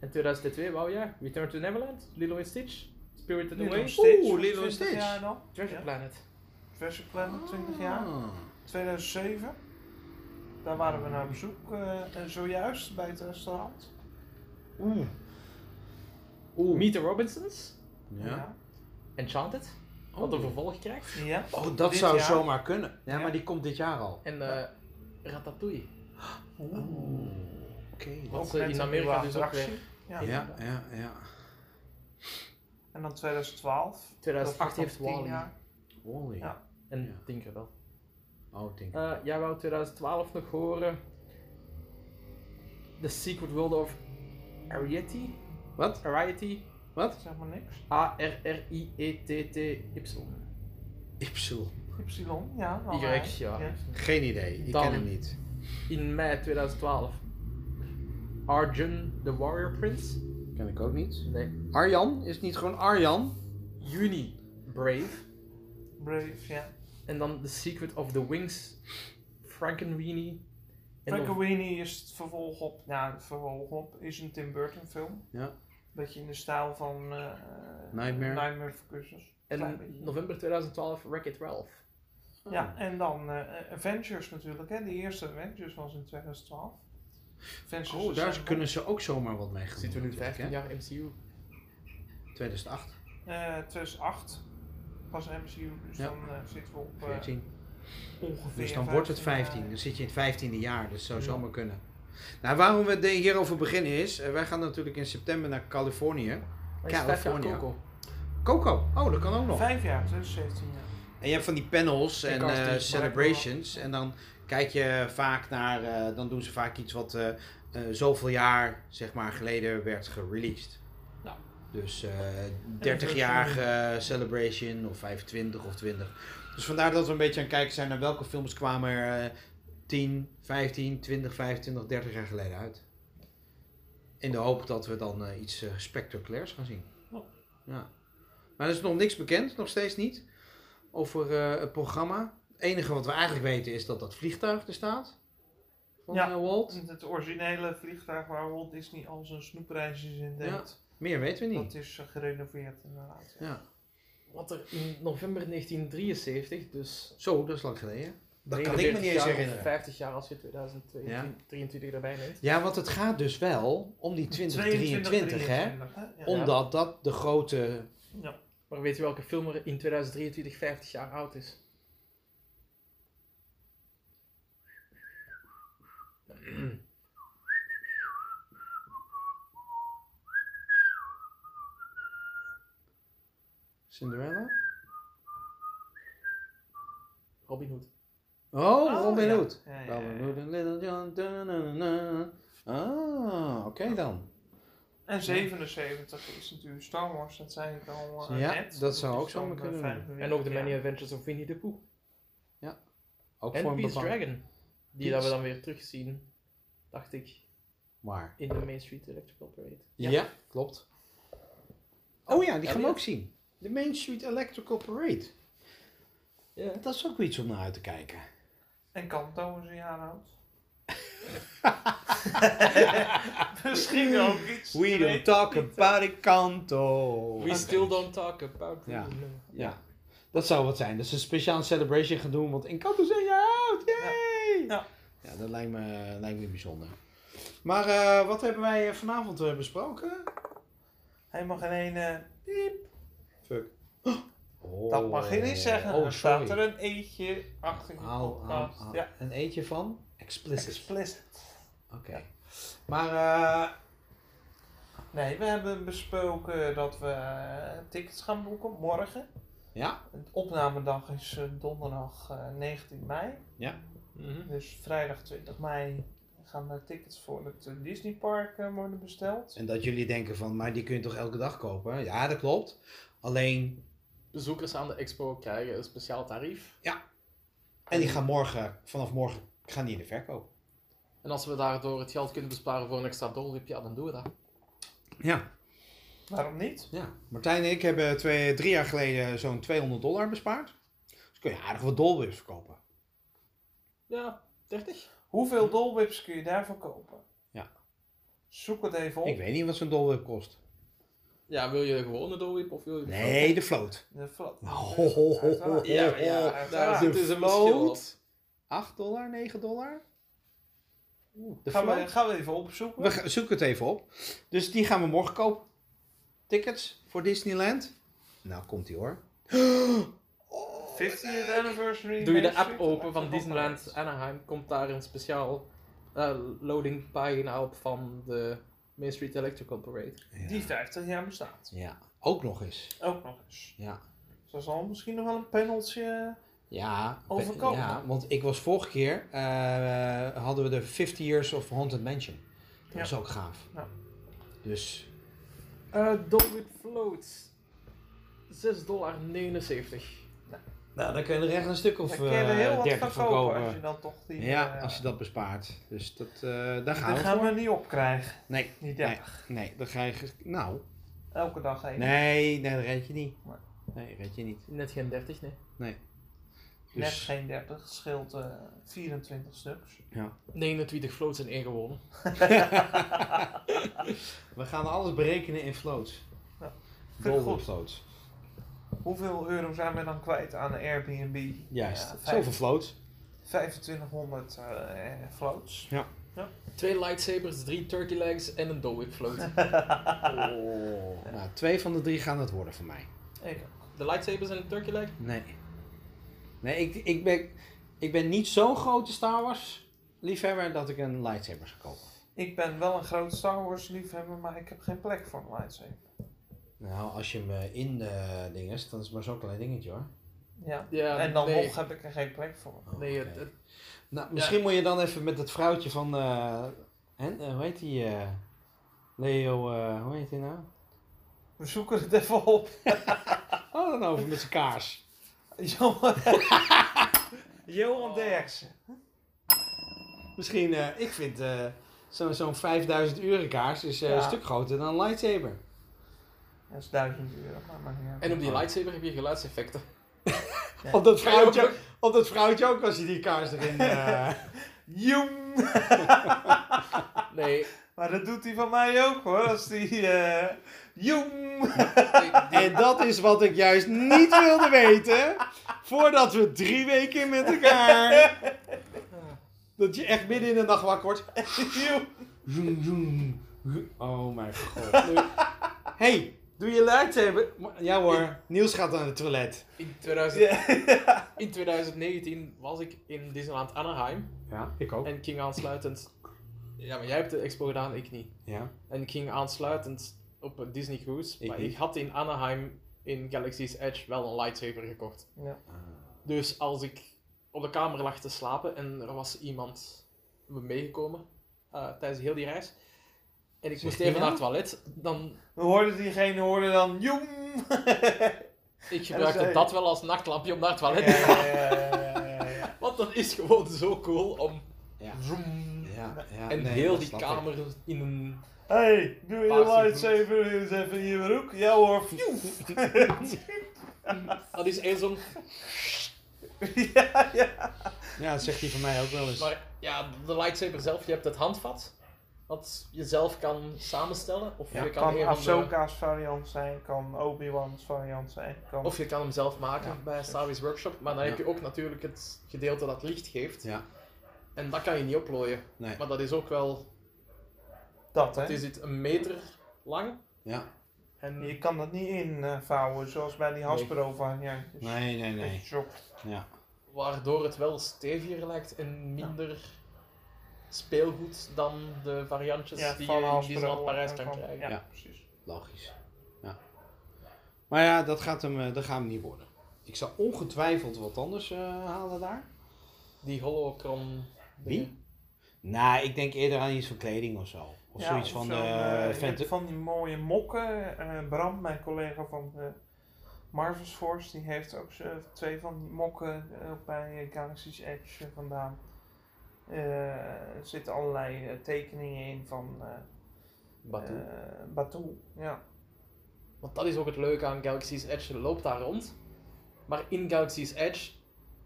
En 2002, wauw ja, Return to Neverland, Lilo and Stitch, Spirited Little Away, Stitch, Oeh, Little 20 Stitch. jaar dan. Treasure Ja. Planet. Ah. Treasure Planet, 20 jaar. Ah. 2007. Daar waren we naar bezoek eh, eh, zojuist bij het restaurant. Oeh. Oeh. Meet the Robinsons, Ja. Enchanted, wat een vervolg krijgt. Ja. Ja. Oh, dat Dit zou jaar. zomaar kunnen. Ja, Ja. maar die komt dit jaar al. En eh Ratatouille. Oeh. Oké. Wat Ook ze met in een Amerika eh, nieuwe dus ook attractie. weer. Ja. Ja, ja, ja. En dan 2012. Dat 2008 wordt heeft dan 10 Wally. jaar. Wally. Ja. En Ja. Tinkerbell. Oh, ik denk. Eh jij wou 2012 nog horen. The Secret World of Ariety. Wat? Ariety. Wat? Zeg maar niks. E A-R-R-I-E-T-T-Y. Ypsil. Y, ja. wel Y, waar. ja. Geen idee. Ik Dan. ken hem niet. In mei 2012. Arjun the Warrior Prince. Ken ik ook niet. Nee. Arjan? Is het niet gewoon Arjan? Juni, Brave. Brave, ja. En dan The Secret of the Wings, Frankenweenie. En dan- Frankenweenie is het vervolg op, nou het vervolg op, is een Tim Burton film. Ja. Beetje in de stijl van eh, Nightmare. Nightmare for Christmas. Klein beetje. En november 2012, Wreck-It Ralph. Oh. Ja, en dan eh, Avengers natuurlijk, hè. De eerste Avengers was in 2012. Avengers Oh, daar Assemble. kunnen ze ook zomaar wat mee gaan Zitten we doen, nu natuurlijk, hè? 15 jaar MCU? 2008, Eh, 2008 was MCU, dus Ja. dan eh, zitten we op eh, 14. ongeveer Dus dan wordt het 15. jaar. Dan zit je in het 15e jaar. Dus zou Ja. zomaar kunnen. Nou, waarom we het hierover beginnen is... eh, wij gaan natuurlijk in september naar Californië. Maar is het vijf jaar California. Coco? Coco. Oh, dat kan ook nog. Vijf jaar, 2017 jaar. En je hebt van die panels En en castings, eh, maar celebrations. En dan kijk je vaak naar... eh, dan doen ze vaak iets wat eh, eh, zoveel jaar zeg maar, geleden werd gereleased. Ja. Dus eh Nou. dat 30-jarige eh, celebration of 25 of 20. Dus vandaar dat we een beetje aan het kijken zijn naar welke films kwamen er eh, 10, 15, 20, 25, 30 jaar geleden uit. In de hoop dat we dan eh, iets eh, spectaculairs gaan zien. Ja. Ja. Maar er is nog niks bekend, nog steeds niet, over eh, het programma. Het enige wat we eigenlijk weten is dat dat vliegtuig er staat. Van Ja. eh, Walt. Het originele vliegtuig waar Walt Disney al zijn snoepreisjes in deed, Meer weten we niet. dat is eh, gerenoveerd inderdaad. Ja. Ja. Wat er in november 1973, dus... Zo, dat is lang geleden. Dat kan ik me 49 niet jaar eens of herinneren. 50 jaar als je 2023 erbij neemt. Ja, want het gaat dus wel om die 2023, hè? 23, Ja. Omdat dat de grote... Maar weet je welke film er in 2023 50 jaar oud is? Cinderella? Robin Hood. Oh, Robin ja. Hood. Ja, ja, ja. Robin Hood en Little John. da-na-na-na-na. Ah, oké dan. En 77 is natuurlijk Star Wars, dat zei ik al eh, Ja, net. dat zou ook zo zomaar kunnen. En ook The Many Adventures of Winnie the Pooh. Ook voor En een Pete's bepaald... Dragon. Die dat we dan weer terugzien, dacht ik, Maar, in de Main Street Electrical Parade. ja, klopt. Oh ja, die Ja, gaan we ja. ook zien. De Main Street Electrical Parade. Ja. Dat is ook iets om naar uit te kijken. En Kanto is een jaar oud. Misschien ook iets. We je don't weet. talk about it, Kanto. We still don't talk about Ja. the- Ja, dat zou wat zijn. Dat ze een speciaal celebration gaan doen, want Encanto zijn je oud! Yay! Ja. Ja, dat lijkt me, lijkt me bijzonder. Maar eh, wat hebben wij eh, vanavond eh, besproken? Helemaal geen ene. Piep. Fuck. Oh. eh, Dat mag je niet zeggen. Oh, er staat er sorry. een eetje achter je Haal- haal- podcast. haal. Ja, Een eetje van? Explicit. explicit. Oké. Maar eh, Nee, we hebben besproken dat we eh, tickets gaan boeken morgen. ja, Het opnamedag is eh, donderdag eh, 19 mei. Mhm. Dus vrijdag 20 mei gaan de tickets voor het eh, Disneypark eh, worden besteld. en dat jullie denken van, maar die kun je toch elke dag kopen? Ja, dat klopt. Alleen, Bezoekers aan de expo krijgen een speciaal tarief. en die gaan morgen, vanaf morgen, gaan die in de verkoop. En als we daardoor het geld kunnen besparen voor een extra dollariep, ja, dan doen we dat. Ja, Waarom niet? Ja, Martijn en ik hebben twee, drie jaar geleden zo'n 200 dollar bespaard. Dus kun je aardig wat dolbus verkopen. Ja, 30. Hoeveel dolwips kun je daarvoor kopen? Ja. Zoek het even op. Ik weet niet wat zo'n dolwip kost. Ja, wil je de gewone dollariep of wil je... de Nee, de float. De flat. Ho, Oh, ho, ho, ho, ho. Ja, maar ja, Ho, ho, ho. Oh, daar De zit dus een verschil op. float. 8 dollar, 9 dollar? Oeh, De Gaan we, float. gaan we even opzoeken. We gaan- zoeken het even op. Dus die gaan we morgen kopen. Tickets voor Disneyland. Nou, komt die hoor. [GASPS] Oh, 50th anniversary. Doe je de Main app Street open van Electrical Disneyland Parade. Anaheim, komt daar een speciaal eh, loading pagina op van de Main Street Electrical Parade. Die Ja. 50 jaar bestaat. ja, ook nog eens. Ook nog eens. Ja. Dus dat zal misschien nog wel een penaltje. Ja, Overkomen. ja, want ik was vorige keer, eh, hadden we de 50 Years of Haunted Mansion. Dat Ja. was ook gaaf. Ja. Dus Eh, Uh, Dolwip Float. 6,79 dollar. Nou, dan kun je er echt een stuk of Dan kun je er eh, heel wat 30 van van kopen als je kopen. dan toch die... Ja, eh, als je dat bespaart. Dus dat, eh, daar die gaan we gaan voor. we niet opkrijgen. Nee, Die 30. nee, dan ga je... ge- Nou, Elke dag één. nee, nee, dat red je niet. Maar- Nee, dat red je niet. Net geen 30, nee. Net Dus, geen 30, scheelt eh 24 stuks. 29 floats en 1 gewonnen. we gaan alles berekenen in floats. Ja, vind ik Dollar goed. floats. Hoeveel euro zijn we dan kwijt aan Airbnb? Juist, Ja, vijf- zoveel [LAUGHS] floats. 2500 eh, eh, floats. Twee lightsabers, drie turkey legs en een doe [LAUGHS] float. Oh. Nou, twee van de drie gaan het worden voor mij. Ik De lightsabers en een turkey leg? Nee. Nee, ik, ik, ben, ik ben niet zo'n grote Star Wars liefhebber dat ik een lightsaber zou kopen. Ik ben wel een groot Star Wars liefhebber, maar ik heb geen plek voor een lightsaber. Nou, als je hem eh, in de ding is, dan is het maar zo'n klein dingetje hoor. Ja. Ja, en dan nee. nog heb ik er geen plek voor. Oh, Nee, het, oké. het- nou, misschien moet je dan even met dat vrouwtje van. eh, en, eh, hoe heet die? eh, Leo, eh, hoe heet die nou? We zoeken het even op. [LAUGHS] Oh, dan over met zijn kaars. [LAUGHS] Johan, Johan Derksen. Misschien, eh, ik vind eh, zo- zo'n 5000 uren kaars is eh, Ja. een stuk groter dan een lightsaber. Dat is 1000 euro, maar maakt niet uit. en op die lightsaber heb je geluidseffecten. Ja. Op dat vrouwtje, op dat vrouwtje ook als je die kaars erin. eh, Joem! Nee, Maar dat doet hij van mij ook hoor, als die... eh [LAUGHS] Joem! En dat is wat ik juist niet wilde weten. Voordat we drie weken met elkaar. Dat je echt midden in de nacht wakker wordt. Joem! Zoem, zoem, zoem. Oh mijn god. Nu- hey, doe je lightsaber? Ja hoor, Niels gaat naar het toilet. in, 2000 in 2019 was ik in Disneyland Anaheim Ja, ik ook. en ging aansluitend... Ja, maar jij hebt de expo gedaan, ik niet. Ja. En ik ging aansluitend op een Disney Cruise, Ik maar niet. ik had in Anaheim in Galaxy's Edge wel een lightsaber gekocht. Ja. Eh, Dus als ik op de kamer lag te slapen en er was iemand me meegekomen eh, tijdens heel die reis. En ik Zeg moest je even nou? naar het toilet, dan We hoorden diegene hoorde dan [LAUGHS] Joem! ik zei gebruikte je. dat wel als nachtlampje om naar het toilet te gaan. Ja, ja, ja, ja, ja. Want dat is gewoon zo cool om Joem. Ja, ja, en Ah, nee, heel dat die snap ik. kamer in een... Hey, doe je Paarse lightsaber eens even in je broek? Ja [LAUGHS] hoor. Pjoef. Dat is één zo'n... [LAUGHS] ja, ja. Ja, dat zegt hij van mij ook wel eens. Maar ja, de lightsaber zelf, je hebt het handvat. Wat je zelf kan samenstellen. Of, Ja, je, kan eh, Kan een van de, Ahsoka's variant zijn, kan Obi-Wan's variant zijn. Kan... of je kan hem zelf maken Ja. bij Star Wars Workshop. Maar dan heb je ook natuurlijk het gedeelte dat licht geeft. Ja, En dat kan je niet oplooien. nee. Maar dat is ook wel. dat, Het hè? is iets een meter lang. Ja. En Je kan dat niet invouwen, zoals bij die Hasbro variantjes. Nee, nee, Dat je nee. zo- Ja. waardoor het wel steviger lijkt en minder speelgoed dan de variantjes Ja, die van je in Hasbro Disneyland Parijs en kan van- krijgen. Ja, Ja. precies. Logisch. Ja. Maar ja, dat gaat hem, eh, dat gaat hem niet worden. Ik zal ongetwijfeld wat anders eh, halen daar. Die holocron. Wie? dingen. Nou, ik denk eerder aan iets van kleding of zo. Of Ja, zoiets van de zo'n, eh, je Fanta- hebt van die mooie mokken. eh, Bram, mijn collega van de Marvel's Force, die heeft ook zo- twee van die mokken eh, bij eh, Galaxy's Edge eh, vandaan. Eh, er zitten allerlei eh, tekeningen in van eh, Batuu. eh, Batuu. Ja. Want dat is ook het leuke aan Galaxy's Edge. Je loopt daar rond. Maar in Galaxy's Edge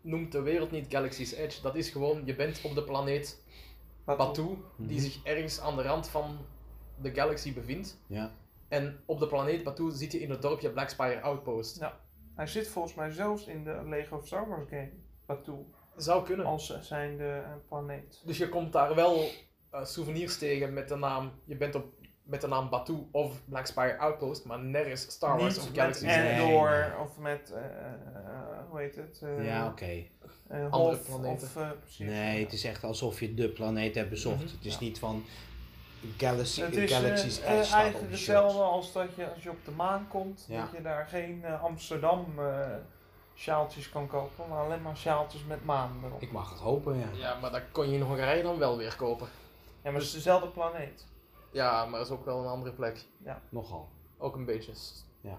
noemt de wereld niet Galaxy's Edge. Dat is gewoon, je bent op de planeet Batuu, Mhm. die zich ergens aan de rand van de galaxy bevindt. Ja. En op de planeet Batuu zit je in het dorpje Blackspire Outpost. Hij zit volgens mij zelfs in de Lego Star Wars game, Batuu, Zou kunnen. als eh, zijnde eh, planeet. Dus je komt daar wel eh, souvenirs tegen met de naam... Je bent op, met de naam Batuu of Blackspire Outpost, maar nergens Star Wars Niet of met Galaxy Nee, Edge. Endor nee. of met, eh, eh, hoe heet het? eh, Ja, oké. eh, Hoth Andere planeten. Of, eh, precies. Nee, Ja. het is echt alsof je de planeet hebt bezocht. Mhm. Het is niet van Galaxy, Het is eh, Galaxy's eh, Edge staat op eigenlijk je hetzelfde shirt. als dat je als je op de maan komt, Ja. dat je daar geen eh, Amsterdam eh sjaaltjes kan kopen, maar alleen maar sjaaltjes met maan erop. Ik mag het hopen, ja. Ja, maar dat kon je in Hongarije dan wel weer kopen. Ja, maar het is dezelfde planeet. Ja, maar dat is ook wel een andere plek. Nogal. Ook een beetje s- Ja.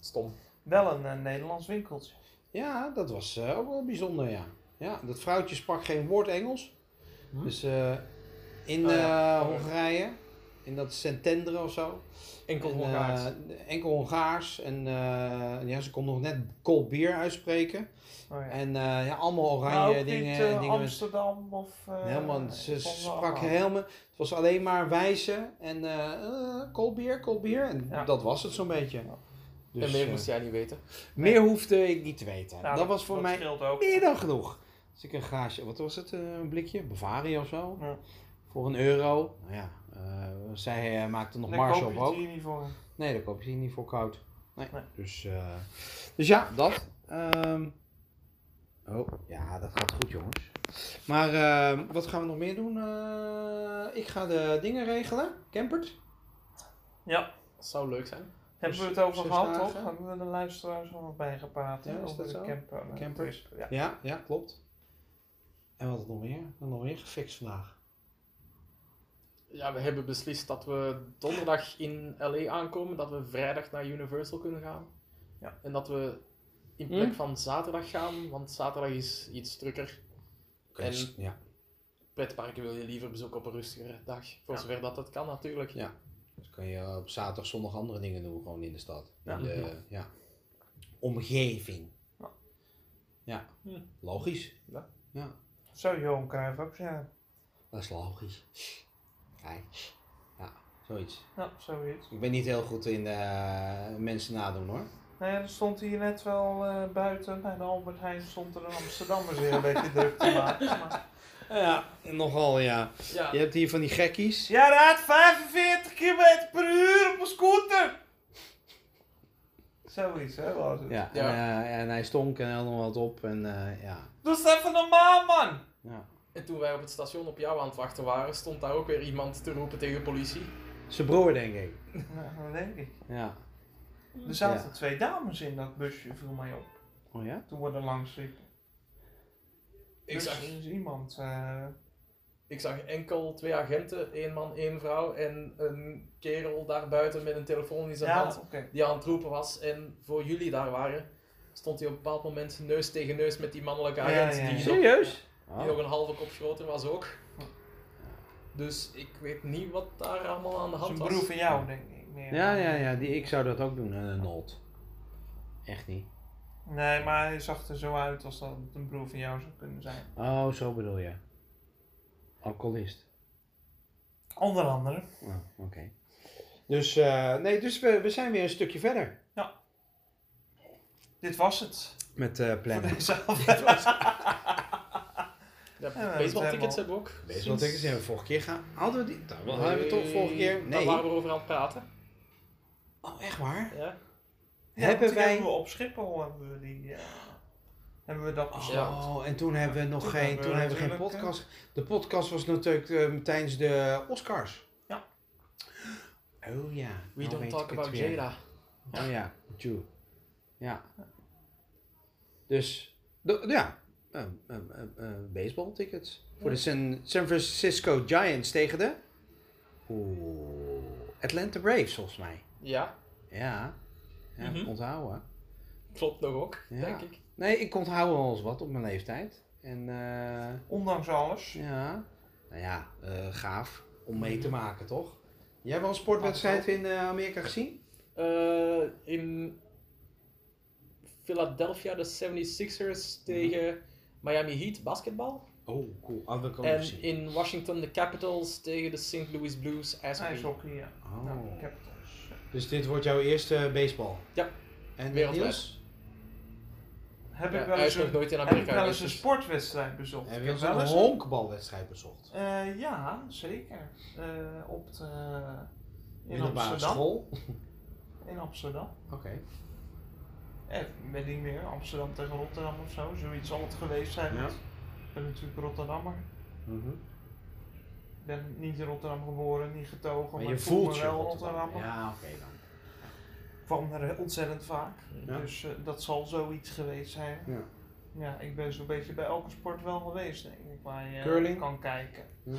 stom. Wel een eh, Nederlands winkeltje. Ja, dat was eh, ook wel bijzonder, ja. Ja, dat vrouwtje sprak geen woord Engels. Hm. Dus eh, in Oh ja. eh, Hongarije, in dat Centendre of zo. Enkel En, Hongaars. eh, enkel Hongaars. En eh, ja, ze kon nog net cold beer uitspreken. Oh, ja. En eh, ja, allemaal Maar oranje ook dingen. niet dingen eh, met- Amsterdam of... eh, Helemaal, ze van sprak allemaal. helemaal. Het was alleen maar wijzen en eh eh, cold beer, cold beer. En Ja. dat was het zo'n beetje. Ja. Dus, en meer eh, moest jij niet weten. meer hoefde ik niet te weten. Nou, dat was voor mij scheelt ook. meer dan genoeg. Dus ik een glaasje, wat was het, eh, een blikje? Bavaria of zo? Ja. Voor een euro. Nou ja, eh, zij eh, maakte nog Daar mars koop op je ook. het hier niet voor. Nee, daar koop je hier niet voor koud. Nee. Nee. Dus, eh, dus ja, dat. Ehm, oh, ja, dat gaat goed, jongens. Maar ehm, wat gaan we nog meer doen? Eh, ik ga de dingen regelen. Campert. Ja, Dat zou leuk zijn. hebben we Zes- het over zes gehad, dagen. toch? Hebben we de luisteraars al wat bijgepraat, hè? Ja, is over dat de zo? camper. eh, Campers? trip, Ja. Ja, ja, klopt. En wat nog meer? Wat nog meer gefixt vandaag. Ja, we hebben beslist dat we donderdag in LA aankomen, dat we vrijdag naar Universal kunnen gaan. Ja. En dat we in plek Hm? van zaterdag gaan, want zaterdag is iets drukker. En- ja. Pretparken wil je liever bezoeken op een rustigere dag, voor Ja. zover dat dat kan natuurlijk. Ja. Dus kan je op zaterdag, zondag andere dingen doen, gewoon in de stad. Ja. In de ja. omgeving. Ja. Ja, Hm. logisch. Ja. ja. Zou Johan Cruijff ook zeggen. Dat is logisch. Kijk. Ja, zoiets. Ja, zoiets. Ik ben niet heel goed in eh, mensen nadoen hoor. Nou ja, er stond hier net wel eh, buiten bij de Albert Heijn stond er een Amsterdammer weer een [LAUGHS] beetje druk te maken. Maar... Ja, nogal ja. Ja. Je hebt hier van die gekkies. Jij raadt 45 km per uur op een scooter! Zoiets, hè, was het. Ja, En, eh, en hij stonk en helemaal wat op en eh, ja. Doe eens even normaal, man! ja. En toen wij op het station op jou aan het wachten waren, stond daar ook weer iemand te roepen tegen politie. Zijn broer denk ik. Nou, dat denk ik. Ja. Er zaten Ja. twee dames in dat busje, viel mij op. Oh ja? Toen we er langs liepen. Ik Dus zag, er is iemand. eh, ik zag enkel twee agenten, één man, één vrouw en een kerel daar buiten met een telefoon in zijn ja, hand. oké. die aan het roepen was en voor jullie daar waren, stond hij op een bepaald moment neus tegen neus met die mannelijke Ja, ja, agent ja. Die, nog, Serieus? die nog een halve kop groter was ook. Dus ik weet niet wat daar allemaal aan de Dat hand is was. een broer van jou, denk ik. Meer. Ja, ja, ja. Die, ik zou dat ook doen, een not. Echt niet. Nee, maar hij zag er zo uit als dat het een broer van jou zou kunnen zijn. Oh, zo bedoel je. Alcoholist. Onder andere. Oh, oké. Dus, eh, nee, dus we, we zijn weer een stukje verder Dit was het. met eh Voor plannen. deze aflevering. Ja, Ja, dat helemaal- baseballtickets hebben we ook. [LAUGHS] Weet je wat ik zei? Vorige keer gaan. Hadden we die? Dat hadden we Nee, toch vorige keer? Daar Nee. waren we over aan het praten. Oh, echt waar? Ja. Ja, hebben want die wij. hebben we op Schiphol hebben we die. eh, hebben we dat Oh, besteld. en toen hebben we eh, nog Toen geen, hebben we toen hebben we geen natuurlijk, podcast. De podcast was natuurlijk eh, tijdens de Oscars. Ja. Oh ja. We Nou don't weet talk ik het about weer. Jada. Oh ja, true. Ja. Dus, de- ja, ehm, ehm, ehm, ehm, baseball tickets. Voor de San, San Francisco Giants tegen de Oeh, Atlanta Braves volgens mij. Ja, Ja, ja Mhm. onthouden. klopt nog ook, Ja. denk ik. Nee, ik onthoud wel eens wat op mijn leeftijd. En eh, Ondanks alles. ja, nou ja, eh, gaaf om mee te maken toch? Jij hebt wel een sportwedstrijd in eh, Amerika gezien? Eh, in Philadelphia de 76ers tegen Miami Heat basketbal. Oh, cool. Oh, dat kan ik En zien. in Washington de Capitals tegen de St. Louis Blues SB. IJshockey, ja. Oh. Nou, ik heb het dus. Dus dit wordt jouw eerste baseball? Ja. En Wereldwijd. Niels? Heb Ja, ik wel hij eens is nog een, nooit in heb ik Amerika wel eens geweest. een dus- sportwedstrijd bezocht. Heb Ik je heb ons een wel eens honkbalwedstrijd bezocht? Eh, ja, zeker. Eh, op de, in Middelbare Amsterdam. school? In Amsterdam. Oké. Eh, ik weet niet meer. Amsterdam tegen Rotterdam of zo. Zoiets zal het geweest zijn. Ja. want Ik ben natuurlijk Rotterdammer. Mhm. Ik ben niet in Rotterdam geboren, niet getogen. Maar Maar, je ik voel voelt me je wel Rotterdam. Rotterdammer. Ja, oké dan. Ik kwam er ontzettend vaak. Ja. Dus eh, dat zal zoiets geweest zijn. Ja. Ja, ik ben zo'n beetje bij elke sport wel geweest, denk ik. Waar je Curling? kan kijken. Hm.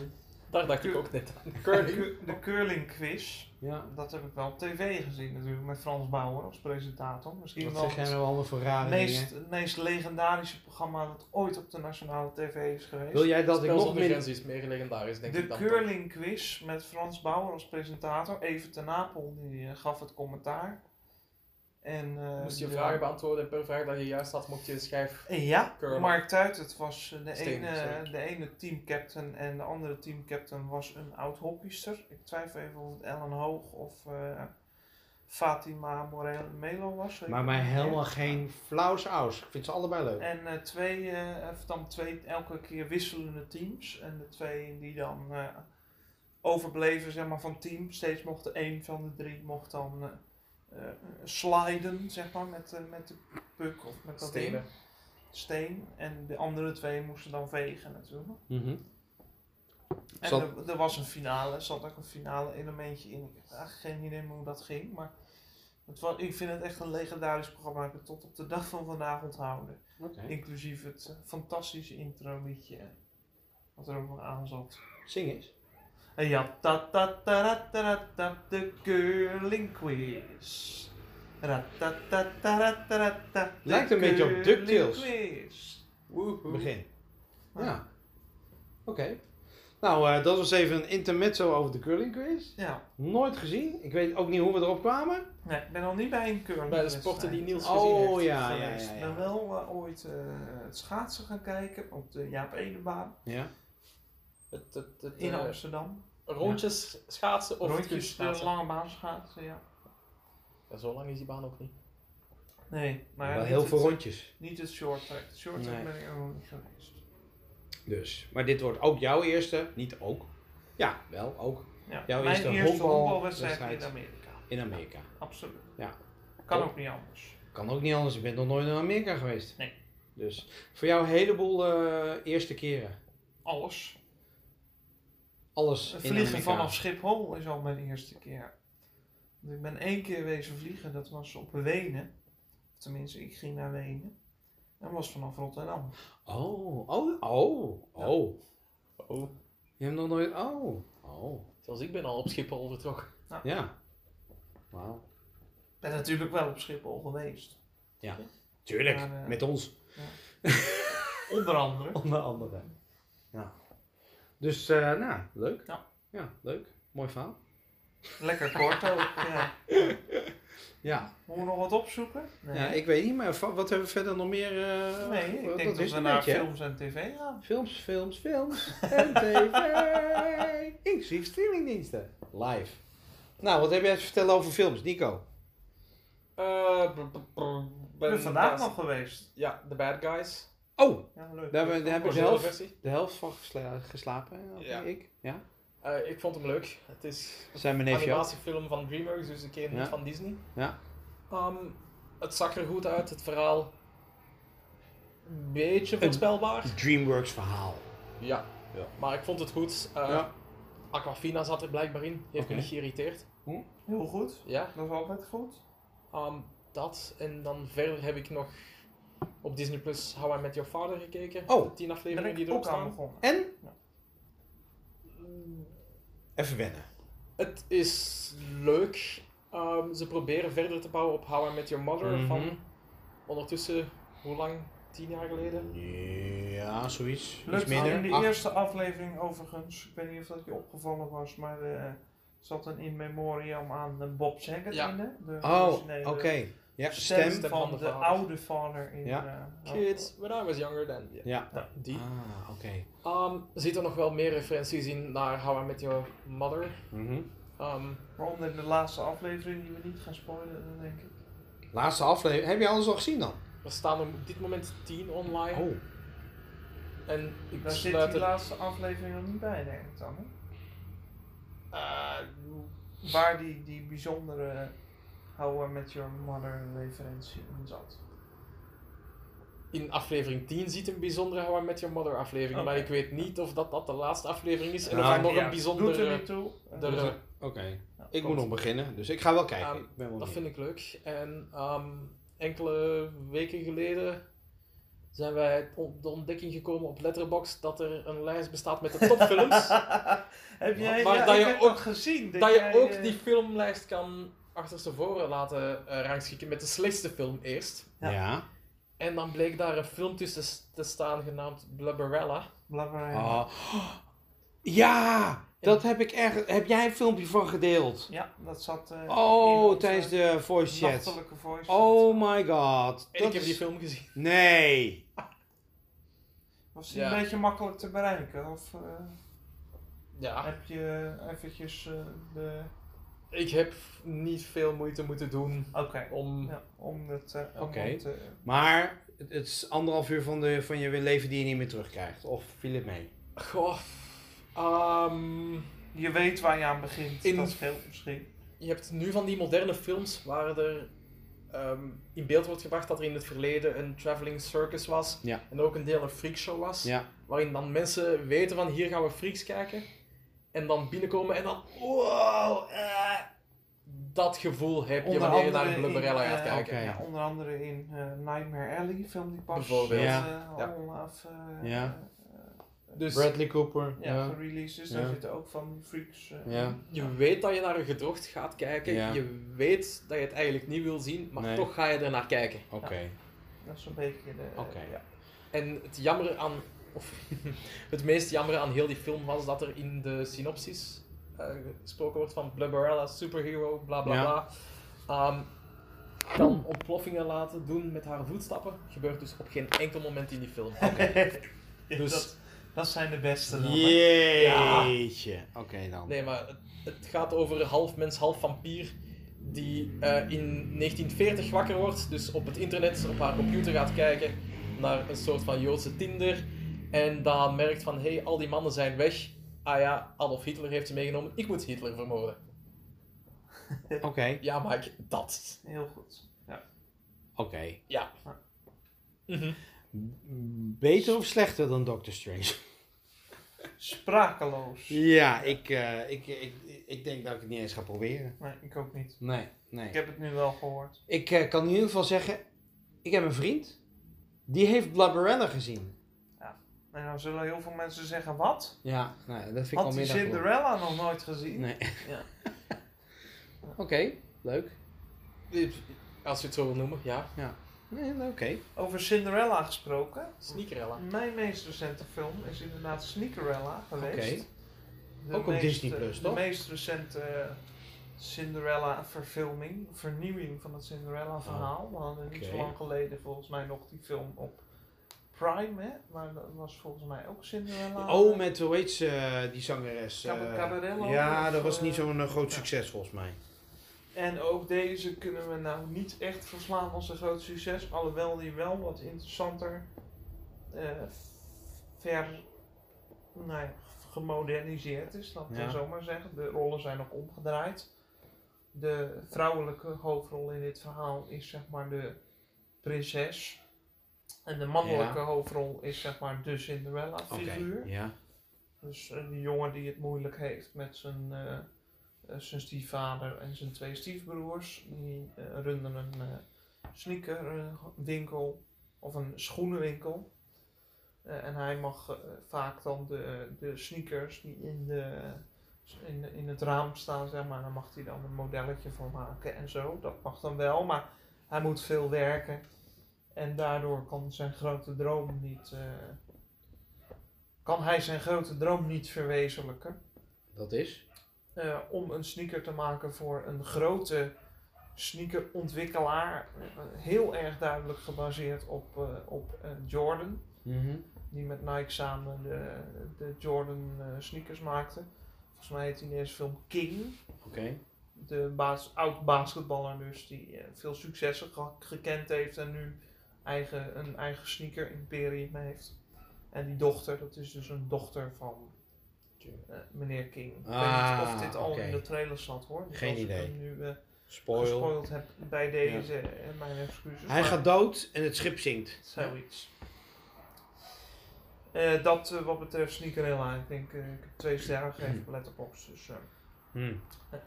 Daar dacht ik ook net [LAUGHS] aan. Curling. De, de curling quiz. Ja. Dat heb ik wel op tv gezien natuurlijk. Met Frans Bauer als presentator. Misschien Wat wel zeg jij nou allemaal voor het rare dingen? meest, het meest legendarische programma dat ooit op de nationale tv is geweest. Wil jij dat ik Spel nog zonder meer... grenzen is meer legendarisch, denk de ik dan. curling quiz met Frans Bauer als presentator. Even ten Apel die eh, gaf het commentaar. En, eh, Moest je de- vragen beantwoorden en per vraag dat je juist had, mocht je een schijf... Ja, Curling. Mark Tuit, het was eh, de Steen, ene, sorry. de ene teamcaptain en de andere teamcaptain was een oud hockeyster. Ik twijfel even of het Ellen Hoog of eh, Fatima Morel Melo was. weet Maar ik mij niet helemaal meer. geen flauws aus. Ik vind ze allebei leuk. En eh, twee, eh, of dan twee, elke keer wisselende teams. En de twee die dan eh, overbleven zeg maar, van team, steeds mocht de een van de drie mocht dan eh, eh, sliden zeg maar, met, eh, met de puck of met dat ding. Stenen. steen. En de andere twee moesten dan vegen natuurlijk. Mhm. En Zat- er, er was een finale, er zat ook een finale elementje in. Ik heb eigenlijk geen idee meer hoe dat ging. Maar het was, ik vind het echt een legendarisch programma. Ik heb het tot op de dag van vandaag onthouden. Oké. Inclusief het eh, fantastische intro liedje. eh, Wat er ook nog aan zat. Zing eens. En ja, ta ta ta ra ta ra ta, de curling quiz. Ra ta ta ta ra ta ra ta, de Lijkt een beetje op curling DuckTales. quiz. Woehoe. Begin. Ja. Ja. Oké. Nou, eh, dat was even een intermezzo over de curling quiz. Ja, Nooit gezien. Ik weet ook niet hoe we erop kwamen. Nee, ik ben al niet bij een curling. Bij de sporten die Niels gezien heeft. Oh ja, ja, geweest. ja. Ik ben ja. wel eh, ooit eh, het schaatsen gaan kijken op de Jaap Edenbaan ja. Het, het, het, in eh, Amsterdam. rondjes schaatsen of Rondjes, de kunstschaatsen. lange baan schaatsen, ja. Ja, zo lang is die baan ook niet. Nee, maar Wel niet heel het- veel rondjes. Niet het short track. Het short track Nee. ben ik ook nog niet geweest. Dus. Maar dit wordt ook jouw eerste. Niet ook. Ja, wel ook. Ja, Jouw mijn eerste eerste honkbal- honkbalwedstrijd in wedstrijd. Amerika. In Amerika. Absoluut. Ja. Kan Top. ook niet anders. Kan ook niet anders. Je bent nog nooit naar Amerika geweest. Nee. Dus voor jou een heleboel eh, eerste keren. Alles. Alles in Vliegen Amerika. vanaf Schiphol is al mijn eerste keer. Want Ik ben één keer wezen vliegen, dat was op Wenen. Tenminste, ik ging naar Wenen. En was vanaf Rotterdam. Oh, oh, oh, Ja. oh. Oh. Je hebt nog nooit... Oh, oh. Zelfs ik ben al op Schiphol vertrokken. Ja. Wauw. Ik ben natuurlijk wel op Schiphol geweest. Tuurlijk, Maar, eh, met ons. Onder andere. [LAUGHS] Onder andere. Ja. Dus, eh, nou, leuk. Ja. Ja, leuk. Mooi verhaal. Lekker kort [LAUGHS] ook. Ja. Ja. Moeten we nog wat opzoeken? Nee, ja, ik weet niet, maar va- wat hebben we verder nog meer? eh, nee ik denk dat, wist we een naar beetje, hè? films en tv gaan. Films, films, [LAUGHS] films en tv. Inclusief streamingdiensten. Live. Nou, wat heb jij te vertellen over films, Nico? Eh, brr, brr, brr, Ik ben ben vandaag laatst- nog geweest. Ja, The Bad Guys. Oh, Ja, leuk. daar, hebben- daar heb ik de Originele helft, versie. de helft van gesla- geslapen. oké, Ja. Ik. Ja. Eh, ik vond hem leuk. Het is Zijn mijn een neefje ook. animatiefilm van DreamWorks, dus een keer Ja. niet van Disney. Ja. Ehm, het zag er goed uit, het verhaal. Een beetje voorspelbaar. Dreamworks verhaal. Ja. Ja. Maar ik vond het goed. Eh, Ja. Aquafina zat er blijkbaar in. Heeft Oké. me niet geïrriteerd. Heel goed. Ja. Dat is altijd goed. Ehm, dat. En dan verder heb ik nog op Disney Plus How I Met Your Father gekeken. Oh. De tien Daar ben afleveringen die ik erop ook aan staan. begonnen. En? Even wennen. Het is leuk. Ehm, ze proberen verder te bouwen op How I Met Your Mother Mhm. van ondertussen, hoe lang? Tien jaar geleden? Ja, zoiets. Iets Lukt in de minder. Acht. eerste aflevering overigens, ik weet niet of dat je opgevallen was, maar eh, er zat een in memoriam aan eh, Bob Saget Ja. in. hè? De Oh, originele oké. Ja, stem, stem. van, de, vader. oude vader in. Ja. eh, Kids, when I was younger than... Ja, Ja. nou, die. Ah, oké. Ehm, er zitten nog wel meer referenties in naar How I Met Your Mother. Mhm. Ehm, Waaronder de laatste aflevering die we niet gaan spoilen, dan denk ik. Laatste aflevering. Heb je alles al gezien dan? er staan er op dit moment tien online. Oh. En ik Daar zit sluit die het... laatste aflevering nog niet bij, denk ik dan. hè? eh, Waar die, die bijzondere How I Met Your Mother referentie in zat. in aflevering 10 zit een bijzondere How I Met Your Mother aflevering. Oké. Maar ik weet niet of dat, dat de laatste aflevering is. En Nou, of er maakt nog Ja, een Doet er bijzondere... niet [LAUGHS] toe. Eh, er, eh, Oké. ja, Ik komt. moet nog beginnen, dus ik ga wel kijken. Ehm, ik ben wel Dat benieuwd. vind ik leuk. En ehm, enkele weken geleden zijn wij op de ontdekking gekomen op Letterboxd dat er een lijst bestaat met [LAUGHS] de topfilms. [LAUGHS] heb jij Maar ja, dat ik je heb ook- dat gezien? dat je jij, ook eh, die filmlijst kan achterstevoren laten eh, rangschikken met de slechtste film eerst. Ja. Ja. En dan bleek daar een film tussen s- te staan genaamd Blubberella. Blabberijn. Ah. Oh. Ja, dat heb ik echt. Heb jij een filmpje van gedeeld? Ja, dat zat. eh, in Oh, onze tijdens de voice chat. Nachtelijke voice. chat. Oh my god. En Dat ik heb die is- film gezien. Nee. Was die Ja. een beetje makkelijk te bereiken? Of eh, Ja, heb je eventjes eh, de. ik heb niet veel moeite moeten doen Oké. om... Ja, om het. eh, om Oké. het, eh, Maar het het is anderhalf uur van, de, van je leven die je niet meer terugkrijgt. Of viel het mee? Goh, ehm, je weet waar je aan begint. In- Dat scheelt misschien. je hebt nu van die moderne films waar er ehm, in beeld wordt gebracht dat er in het verleden een traveling circus was. Ja. En ook een deel een freakshow was. Ja. Waarin dan mensen weten van hier gaan we freaks kijken. En dan binnenkomen en dan wow, eh, dat gevoel heb je wanneer je naar een Blubberella in, gaat eh, kijken. Oké. ja, onder andere in eh, Nightmare Alley, film die pas Bijvoorbeeld. Ja. eh, Ja. al af, eh, Ja. eh, Dus Bradley Cooper. ja, gereleased is. Daar Ja. zitten ook van die freaks. eh, Ja. in. je weet dat je naar een gedrocht gaat kijken. Ja. Je weet dat je het eigenlijk niet wil zien, maar Nee. toch ga je er naar kijken. Oké. Dat is een beetje de. Oké. [LAUGHS] ja. En het jammer aan, of [LAUGHS] het meest jammer aan heel die film was dat er in de synopsis eh, gesproken wordt van Blubberella, superhero, bla bla Ja. bla. Ehm, kan ontploffingen laten doen met haar voetstappen. Gebeurt dus op geen enkel moment in die film. Ja, Dus- dat, dat zijn de beste dan. hè. Jeetje. Oké dan. Nee, maar het, het gaat over half mens, half vampier. Die eh, in 1940 wakker wordt, dus op het internet, op haar computer gaat kijken naar een soort van Joodse Tinder. En dan merkt van, hé, hey, al die mannen zijn weg. Ah ja, Adolf Hitler heeft ze meegenomen, ik moet Hitler vermoorden. Oké. Ja, Mike, dat. Heel goed. Ja. Oké. Ja. Mhm. Beter of slechter dan Doctor Strange? Sprakeloos. Ja, ik, eh, ik, ik, ik denk dat ik het niet eens ga proberen. Nee, ik ook niet. Nee, nee. Ik heb het nu wel gehoord. Ik eh, kan in ieder geval zeggen, ik heb een vriend. Die heeft Blabberella gezien. En dan zullen heel veel mensen zeggen, wat? Ja, nou, dat vind ik al Had die meer dan geloof. Cinderella nog nooit gezien? Nee. Ja. [LAUGHS] Oké, leuk. Als je het zo wil noemen, ja. Nee, oké. Over Cinderella gesproken. Sneakerella. Mijn meest recente film is inderdaad Sneakerella geweest. Oké. De Ook op meest, Disney+, eh, toch? De meest recente eh, Cinderella-verfilming, vernieuwing van het Cinderella-verhaal. We hadden niet zo Oh, Oké. lang geleden volgens mij nog die film op Prime, hè? Maar dat was volgens mij ook Cinderella. Oh, met, hoe heet ze, eh, die zangeres? eh, Cab- Cabarello ja, of, dat was eh, niet zo'n eh, groot ja. succes volgens mij. En ook deze kunnen we nou niet echt verslaan als een groot succes. Alhoewel die wel wat interessanter eh, ver nou ja, gemoderniseerd is, laten we Ja. zo maar zeggen. De rollen zijn ook omgedraaid. De vrouwelijke hoofdrol in dit verhaal is zeg maar de prinses. En de mannelijke hoofdrol is zeg maar de Cinderella Oké, figuur. ja. Dus een jongen die het moeilijk heeft met zijn, eh, eh, zijn stiefvader en zijn twee stiefbroers. Die eh, runden een sneakerwinkel of een schoenenwinkel. Eh, en hij mag eh, vaak dan de, de sneakers die in, de, in, de- in het raam staan, zeg maar, daar mag hij dan een modelletje van maken en zo. Dat mag dan wel, maar hij moet veel werken. En daardoor kan zijn grote droom niet. eh, kan hij zijn grote droom niet verwezenlijken Dat is? eh, om een sneaker te maken voor een grote sneakerontwikkelaar. Eh, Heel erg duidelijk gebaseerd op, eh, op eh, Jordan, Mhm. die met Nike samen de, de Jordan eh, sneakers maakte. Volgens mij heet die in de eerste film King. Oké. De baas, oud basketballer dus, die eh, veel successen ge- gekend heeft en nu eigen, een eigen sneaker imperium heeft. En die dochter, dat is dus een dochter van eh, meneer King. Ik weet niet Ah, of dit al oké. in de trailer zat hoor. Dus Geen als idee. ik hem nu eh, Spoil. gespoild heb bij deze, eh, mijn excuses. Hij maar gaat dood en het schip zinkt. Zoiets. Eh, dat eh, wat Hm. betreft Sneakerella, ik denk eh, ik heb twee sterren gegeven op Letterboxd. Dus eh, Hmm. eh,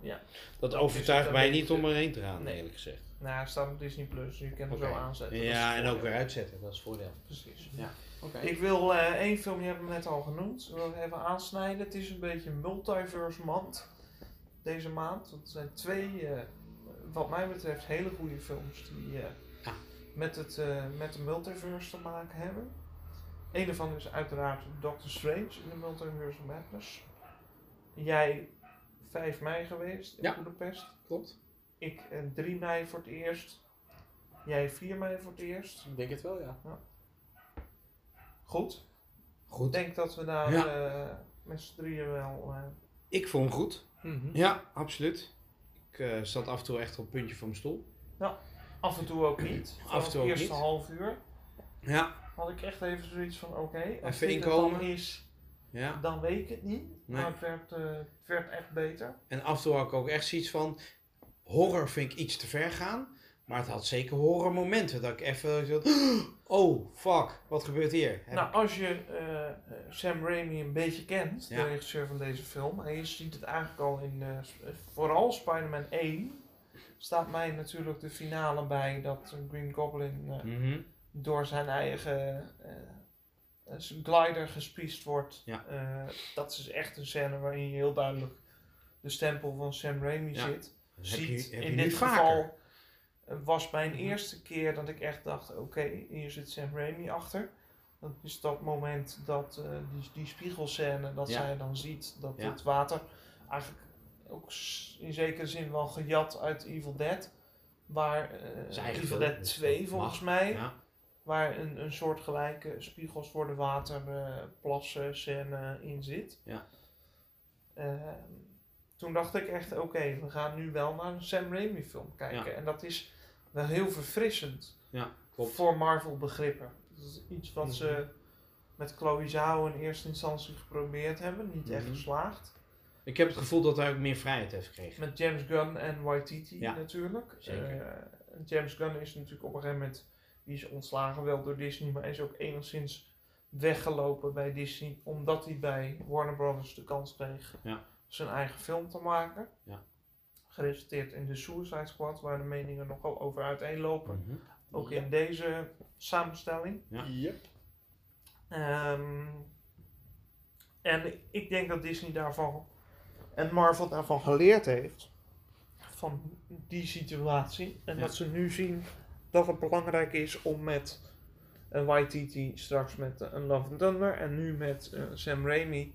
Ja. Dat Dat is overtuigt het mij een niet beetje. om erheen te gaan, Nee. eerlijk gezegd. Nou, hij staat op Disney Plus, dus je kan hem Oké. zo aanzetten. Dat is Ja, het en ook voordeel. weer uitzetten, dat is het voordeel. Precies. Oké. Ik wil eh, één film, die hebben we net al genoemd, wil ik even aansnijden. Het is een beetje een multiverse maand deze maand. Want er zijn twee, eh, wat mij betreft, hele goede films die eh, Ja. met, het, eh, met de multiverse te maken hebben. Een daarvan is uiteraard Doctor Strange in de Multiverse of Madness. Jij 5 mei geweest in Ja. Budapest. Klopt. Ik eh, 3 mei voor het eerst. Jij 4 mei voor het eerst. Ik denk het wel, ja. Goed. Ik Goed. denk dat we daar Ja. eh, met z'n drieën wel. eh, Ik vond hem goed. Mhm. Ja, absoluut. Ik eh, zat af en toe echt op het puntje van mijn stoel. af en toe ook niet. Van [CLEARS THROAT] Af en toe ook het eerste niet. half uur Ja. had ik echt even zoiets van: oké, als Even dit het dan inkomen. is, Ja. dan weet ik het niet. Nee. Maar het werd, eh, het werd echt beter. En af en toe had ik ook echt zoiets van... Horror vind ik iets te ver gaan. Maar het had zeker horrormomenten. Dat ik even... zo- [GASPS] Oh, fuck. Wat gebeurt hier? Heb Nou, als je eh, eh, Sam Raimi een beetje kent, Ja. de regisseur van deze film, en je ziet het eigenlijk al in eh, s- eh, vooral Spider-Man 1, staat mij natuurlijk de finale bij dat Green Goblin eh, ik- Mhm. door zijn eigen eh, eh, zijn glider gespiesd wordt. Ja. Eh, dat is echt een scène waarin je heel duidelijk de stempel van Sam Raimi Ja. ziet. Dat Heb ziet. je, heb je In niet dit vaker. geval eh, was mijn Mhm. eerste keer dat ik echt dacht, oké, hier zit Sam Raimi achter. Dat is dat moment dat eh, die, die spiegelscène, dat Ja. zij dan ziet dat Ja. het water eigenlijk ook s- in zekere zin wel gejat uit Evil Dead. Waar eh, Zijn eigen Evil film, Dead dus dat 2 mag. volgens mij Ja. waar een, een soort gelijke spiegels voor de waterplassen scène in zit. Ja. Ehm, toen dacht ik echt, oké, we gaan nu wel naar een Sam Raimi film kijken. En dat is wel heel verfrissend Ja, klopt. voor Marvel begrippen. Dat is iets wat ze Mhm. met Chloe Zhao in eerste instantie geprobeerd hebben, niet echt Mhm. geslaagd. Ik heb het gevoel dat hij ook meer vrijheid heeft gekregen. Met James Gunn en Waititi Ja, natuurlijk. zeker. Eh, James Gunn is natuurlijk op een gegeven moment... Die is ontslagen wel door Disney, maar is ook enigszins weggelopen bij Disney. Omdat hij bij Warner Brothers de kans kreeg Ja. zijn eigen film te maken. Ja. Geresulteerd in de Suicide Squad, waar de meningen nogal over uiteenlopen. Mhm. Ook Ja. in deze samenstelling. Ja. Yep. Ehm, en ik denk dat Disney daarvan en Marvel daarvan geleerd heeft. Van die situatie. En Ja. dat ze nu zien dat het belangrijk is om met een Waititi, straks met eh, een Love and Thunder en nu met eh, Sam Raimi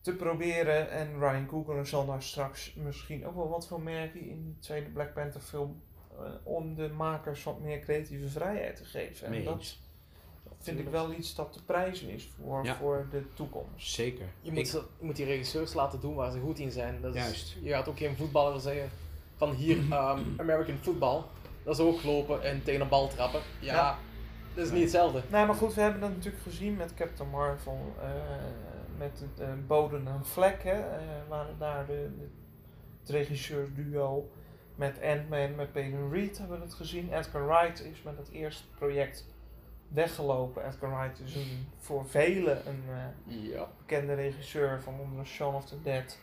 te proberen. En Ryan Coogler zal daar straks misschien ook wel wat van merken in die tweede Black Panther film. eh, om de makers wat meer creatieve vrijheid te geven. Mee En dat eens. vind ik wel iets dat te prijzen is voor, Ja. voor de toekomst. Zeker. Je moet, ze- je moet die regisseurs laten doen waar ze goed in zijn. Dat is, Juist. Je gaat ook geen voetballer zeggen van hier [CLEARS THROAT] ehm, American football. Dat is ook lopen en tegen een bal trappen. Ja, Ja. dat is niet hetzelfde. Nou, maar goed, we hebben dat natuurlijk gezien met Captain Marvel. eh, met het eh, bodem en vlek, hè. eh, waren daar de, de, het regisseursduo met Ant-Man, met Peyton Reed hebben we het gezien. Edgar Wright is met het eerste project weggelopen. Edgar Wright is een, voor velen een eh, Ja. bekende regisseur van onder andere Shaun of the Dead.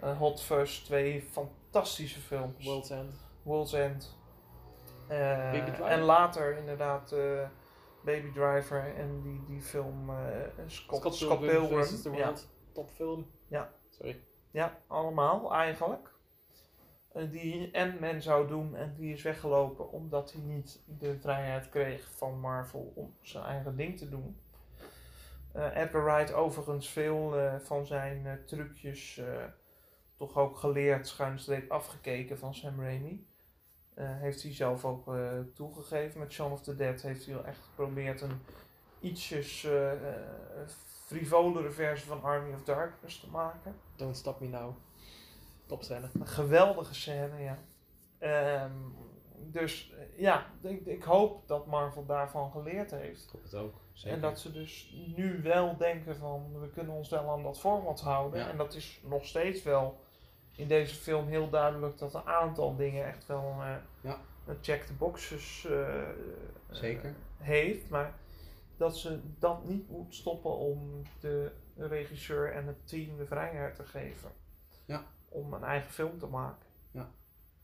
eh, Hot Fuzz, twee fantastische films. World's End. World's End. Eh, Baby Driver. en later inderdaad eh, Baby Driver en die, die film eh, Scott, Scott, Pilgrim. versus The Ja, World. Topfilm. Ja. Sorry. ja, allemaal eigenlijk. Eh, die Ant-Man zou doen en die is weggelopen omdat hij niet de vrijheid kreeg van Marvel om zijn eigen ding te doen. Eh, Edgar Wright overigens veel eh, van zijn eh, trucjes eh, toch ook geleerd, schuinstreep afgekeken van Sam Raimi. Eh, heeft hij zelf ook eh, toegegeven. Met Shaun of the Dead heeft hij wel echt geprobeerd een ietsjes eh, eh, frivolere versie van Army of Darkness te maken. Don't Stop Me Now. Topscène. Een geweldige scène, ja. Ehm, dus eh, ja, ik, ik hoop dat Marvel daarvan geleerd heeft. Ik hoop het ook. Zeker. En dat ze dus nu wel denken van we kunnen ons wel aan dat format houden. Ja. En dat is nog steeds wel in deze film heel duidelijk dat een aantal dingen echt wel eh, Ja. een check the boxes eh, eh, Zeker. heeft. Maar dat ze dat niet moet stoppen om de regisseur en het team de vrijheid te geven. Ja. om een eigen film te maken.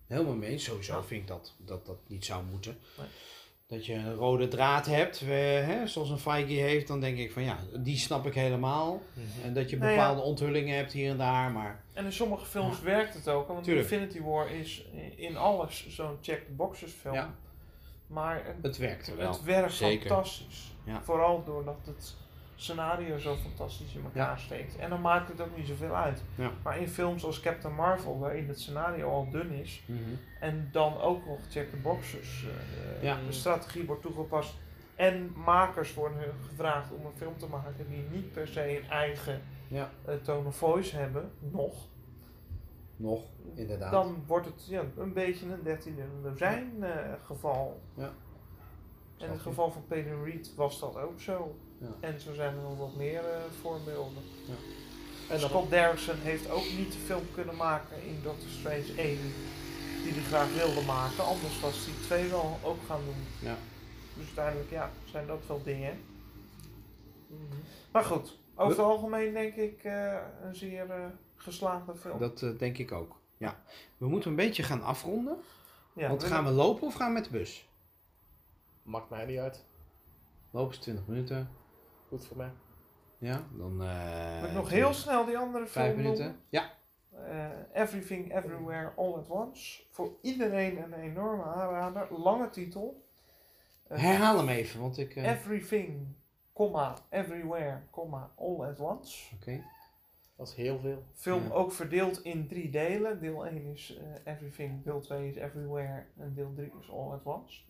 Helemaal mee eens. Sowieso Ja. vind ik dat, dat dat niet zou moeten. Nee. Dat je een rode draad hebt, eh, hè, zoals een Feige heeft, dan denk ik van ja, die snap ik helemaal. En dat je Nou ja. bepaalde onthullingen hebt hier en daar, maar En in sommige films werkt het ook, want Tuurlijk. Infinity War is in alles zo'n check the boxes film. Ja. Maar het, het werkt wel. het werkt Zeker. fantastisch. Ja. Vooral doordat het scenario zo fantastisch in elkaar steekt. En dan maakt het ook niet zoveel uit. Ja. Maar in films als Captain Marvel, waarin het scenario al dun is, Mhm. en dan ook nog check the boxes, eh, Ja. de strategie wordt toegepast. En makers worden gevraagd om een film te maken die niet per se een eigen Ja. eh, tone of voice hebben, nog. Nog, inderdaad. Dan wordt het ja, een beetje een 13e rozijn eh, geval. Ja. En in het Snap je. geval van Peyton Reed was dat ook zo. Ja. En zo zijn er nog wat meer eh, voorbeelden. En dan Scott Derrickson heeft ook niet de film kunnen maken in Doctor Strange 1 die hij graag wilde maken. Anders was hij 2 wel ook gaan doen. Ja. Dus uiteindelijk ja, zijn dat wel dingen. Mhm. Maar goed, over het algemeen denk ik eh, een zeer eh, geslaagde film. Dat eh, denk ik ook. Ja. We moeten een beetje gaan afronden. ja, want gaan we lopen of gaan we met de bus? Maakt mij niet uit. Lopen is 20 minuten. Goed voor mij. Ja, dan. eh, Moet ik nog heel snel die andere film Vijf doen? minuten. Ja, Eh, Everything Everywhere All at Once. Voor iedereen een enorme aanrader. Lange titel. Eh, herhaal hem even, want ik. eh, Everything, comma, Everywhere, comma, All at Once. Oké. Dat is heel veel. Film Ja. ook verdeeld in drie delen. Deel 1 is eh, Everything, deel 2 is Everywhere en deel 3 is All at Once.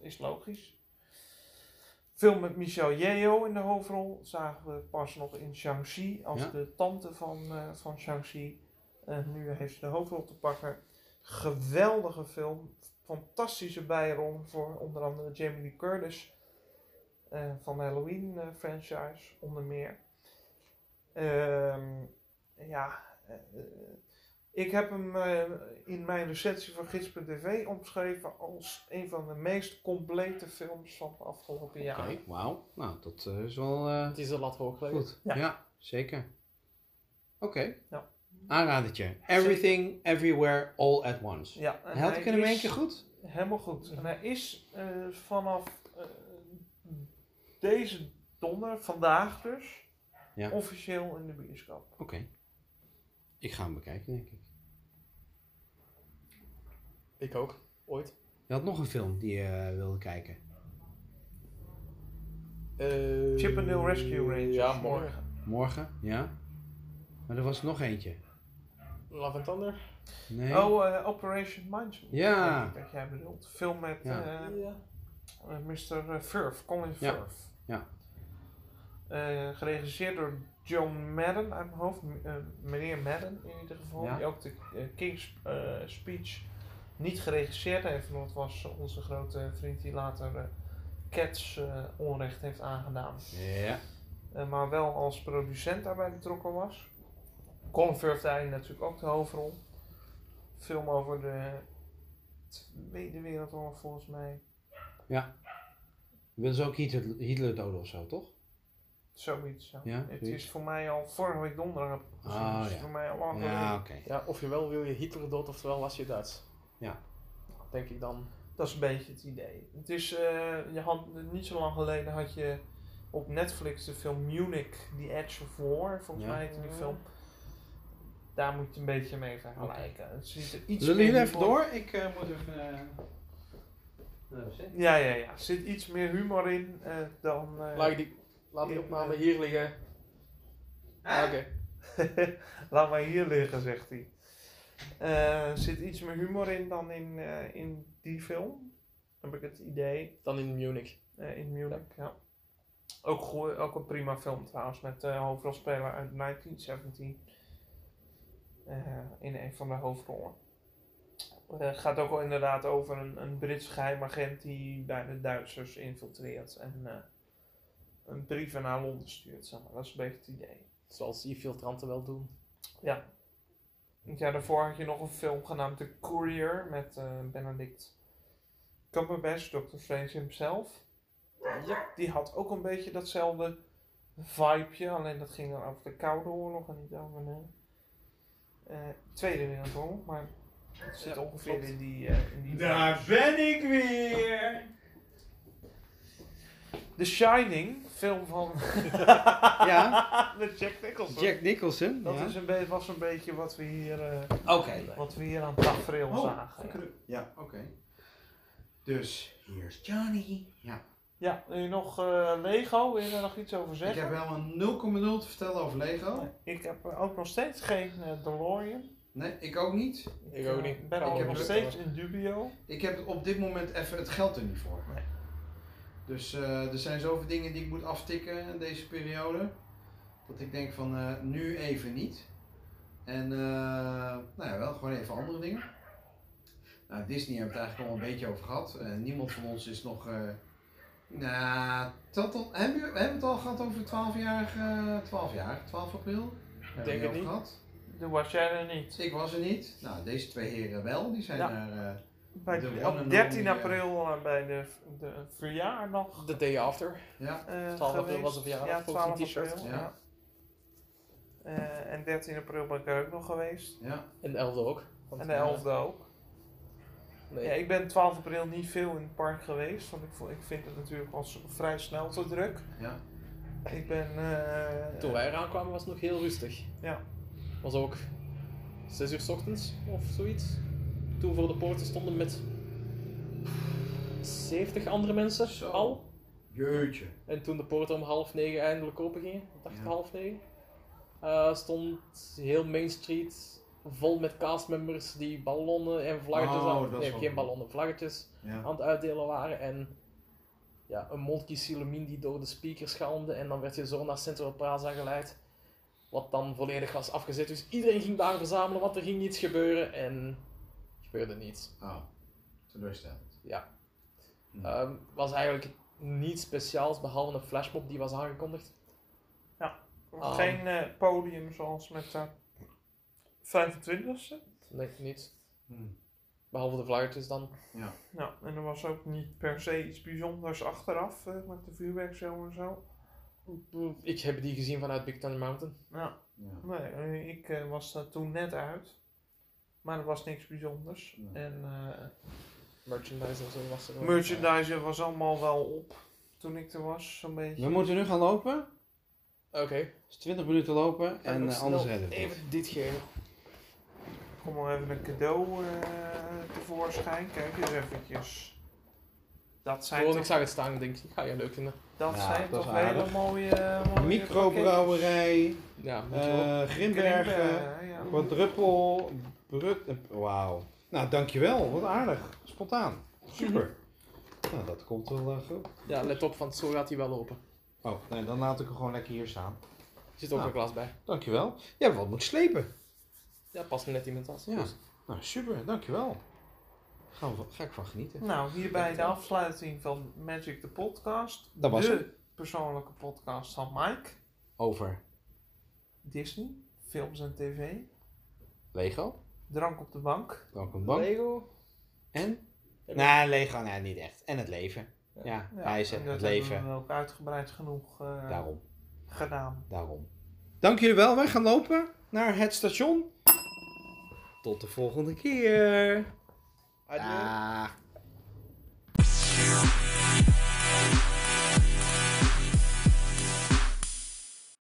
Is logisch. Film met Michelle Yeoh in de hoofdrol. Zagen we pas nog in Shang-Chi als Ja. de tante van, eh, van Shang-Chi. En nu heeft ze de hoofdrol te pakken. Geweldige film. Fantastische bijrol voor onder andere Jamie Lee Curtis eh, van de Halloween eh, franchise onder meer. Ehm, ja, eh, eh, ik heb hem eh, in mijn recensie voor gids.tv omschreven als een van de meest complete films van de afgelopen Oké, jaren. wauw. Nou, dat eh, is wel eh, Het is een lat hoog leggen. goed. Ja, Ja. zeker. Oké. Ja. Aanradertje. Everything, everywhere, all at once. Ja, en Had hij ik hem in één is- keer goed? Helemaal goed. En hij is eh, vanaf eh, deze donder, vandaag dus, Ja. officieel in de bioscoop. Oké. Ik ga hem bekijken, denk ik. Ik ook. Ooit. Je had nog een film die je eh, wilde kijken. Eh, Chippendale Rescue Rangers. Ja, morgen. Morgen, ja? Maar er was nog eentje. Love and Thunder. Nee. Oh, eh, Operation Mindstorm. Ja. denk ik Dat jij bedoelt. Film met Ja. eh, Ja. eh, Mr. Furf, Colin Ja. Firth. Ja. Eh, geregisseerd door John Madden uit mijn hoofd. M- eh, meneer Madden in ieder geval. Ja. Die ook de eh, King's eh, Speech niet geregisseerd heeft. Want het was onze grote vriend die later eh, Cats eh, onrecht heeft aangedaan. Ja. Eh, maar wel als producent daarbij betrokken was. Colin Firth daarin natuurlijk ook de hoofdrol. Film over de Tweede Wereldoorlog volgens mij. Wil ze ook Hitler, Hitler doden of zo, toch? Zoiets. Ja. Ja, het zoiets. is voor mij al vorige week donderdag heb ik het gezien. Ah, dus ja. voor mij al lang. Ja, geleden. oké. ja, ofwel wil je Hitler dood, ofwel was je Duits. Ja. Denk ik dan. Dat is een beetje het idee. Het is, eh, je had, niet zo lang geleden had je op Netflix de film Munich, The Edge of War. Volgens Ja. mij heette die film. Daar moet je het een beetje mee vergelijken. Het ziet er iets Zullen jullie meer even humor- door? Ik eh, moet even... eh, naar de wc. Ja, ja, ja. Er zit iets meer humor in eh, dan. eh, Laat die, laat die opname hier liggen. Ah, Oké. Laat maar hier liggen, zegt hij. Eh, er zit iets meer humor in dan in, eh, in die film. Heb ik het idee. Dan in Munich. eh, in Munich, ja. Ook, goe- ook een prima film trouwens. Met de hoofdrolspeler uit 1917. Eh, in een van de hoofdrollen. Het gaat ook wel inderdaad over een, een Brits geheimagent die bij de Duitsers infiltreert. En eh, een brieven naar Londen stuurt. Zeg maar. Dat is een beetje het idee. Zoals die filtranten wel doen. Ja. Het jaar daarvoor had je nog een film genaamd The Courier met eh, Benedict Cumberbatch, Dr. Strange himself. Ja. Die had ook een beetje datzelfde vibeje, alleen dat ging dan over de Koude Oorlog en niet over een, eh, Tweede Wereldoorlog, maar het zit Ja, ongeveer klopt. in die. eh, in die Daar ben ik weer! The Shining, film van [LAUGHS] Ja, met Jack Nicholson. Jack Nicholson. Dat ja. is een be- was een beetje wat we hier, eh, Oké. wat we hier aan tafereel Oh, zagen. Ja. Ja, oké. Dus, hier is Johnny. Ja. Ja, nu nog eh, Lego, wil je daar nog iets over Ik zeggen? heb wel een 0,0 te vertellen over Lego. Ik heb ook nog steeds geen eh, DeLorean. Nee, ik ook niet. Ik ook eh, niet. ben Ik al heb nog het- steeds in dubio. Ik heb op dit moment even het geld er niet voor. Dus eh, er zijn zoveel dingen die ik moet aftikken in deze periode. Dat ik denk van eh, nu even niet. En eh, nou ja, wel gewoon even andere dingen. Nou, Disney hebben we het eigenlijk al een beetje over gehad. Eh, niemand van ons is nog. eh nou, tot, tot, hebben, we, hebben we het al gehad over 12 jaar? eh, 12 jaar, 12 april? Hebben we denk het over niet. Gehad. Toen was jij er niet. Dus Ik was er niet. Nou, deze twee heren wel. Die zijn Ja. naar. eh, Bij, De one and op 13 only, eh, april eh, bij de, de verjaardag. The day after. ja. eh, 12 april geweest. was een verjaardag, Ja, volgens 12 een april. t-shirt. Ja. Ja. Eh, en 13 april ben ik er ook nog geweest. Ja, En de 11e ook. Want, En de eh, 11e ook. Nee. Ja, ik ben 12 april niet veel in het park geweest, want ik, vo- ik vind het natuurlijk als vrij snel te druk. ja. Ik ben. eh, Toen wij eraan kwamen was het nog heel rustig. Ja. Was ook 6 uur 's ochtends of zoiets. Toen we voor de poorten stonden met 70 andere mensen Zo. al. Jeetje. En toen de poorten om half negen eindelijk open gingen, ik dacht Ja. half negen, eh, stond heel Main Street vol met castmembers die ballonnen en vlaggetjes Oh, aan, dat is nee, wel geen goed. ballonnen, vlaggetjes Ja. aan het uitdelen waren. En ja, een mondkieselamine die door de speakers galmde en dan werd je zo naar Central Plaza geleid. Wat dan volledig was afgezet. Dus iedereen ging daar verzamelen, want er ging iets gebeuren en gebeurde niets. Oh, teleurstellend. Ja. Hm. Ehm, was eigenlijk niets speciaals behalve een flashmob die was aangekondigd. Ah. Geen eh, podium zoals met de 25e. Nee, niets. Hmm. Hm. Behalve de vlaggetjes dan. Nou, en er was ook niet per se iets bijzonders achteraf eh, met de vuurwerkshow en zo. Ik heb die gezien vanuit Big Thunder Mountain. Nou, Ja. nee, eh, ik eh, was daar toen net uit. Maar er was niks bijzonders. Nee. En eh, Merchandise en zo was er ook. merchandise was allemaal wel op toen ik er was, zo'n beetje. We moeten nu gaan lopen. Oké. Het is 20 minuten lopen Nog en eh, snel anders redden we het. Even dit geven. Kom maar even een cadeau eh, tevoorschijn. Kijk eens eventjes. Dat zijn Gewoon, ik toch, zag het staan en denk, ik ga je leuk vinden. dat Ja, zijn dat toch is hele aardig. mooie... eh, mooie Microbrouwerij, Ja, moet je wel. eh Grimbergen, Krimbergen, ja. Quadruppel, Brut... eh, Wauw. eh, Nou, dankjewel. Wat aardig. Spontaan. [LAUGHS] Super. Nou, dat komt wel eh, goed. Ja, let op, want zo gaat hij wel lopen. Oh, nee, dan laat ik hem gewoon lekker hier staan. Er zit ook Ah. een glas bij. Dankjewel. Ja, wat moet slepen. Ja, past me net iemand aan. Ja. Nou, super. Dankjewel. Gaan we, van- ga ik van genieten. Nou, hierbij de afsluiting van Magic the Podcast. Dat was de het. persoonlijke podcast van Mike. Over Disney, films en tv, Lego. drank op de bank. Drank en bank. Lego. En? Ja. Nee, Lego. Nee, niet echt. En het leven. Ja, Ja, reizen. en dat Het hebben leven. we ook uitgebreid genoeg eh, Daarom. gedaan. Daarom. Dank jullie wel. Wij gaan lopen naar het station. Tot de volgende keer. Adieu. Dag.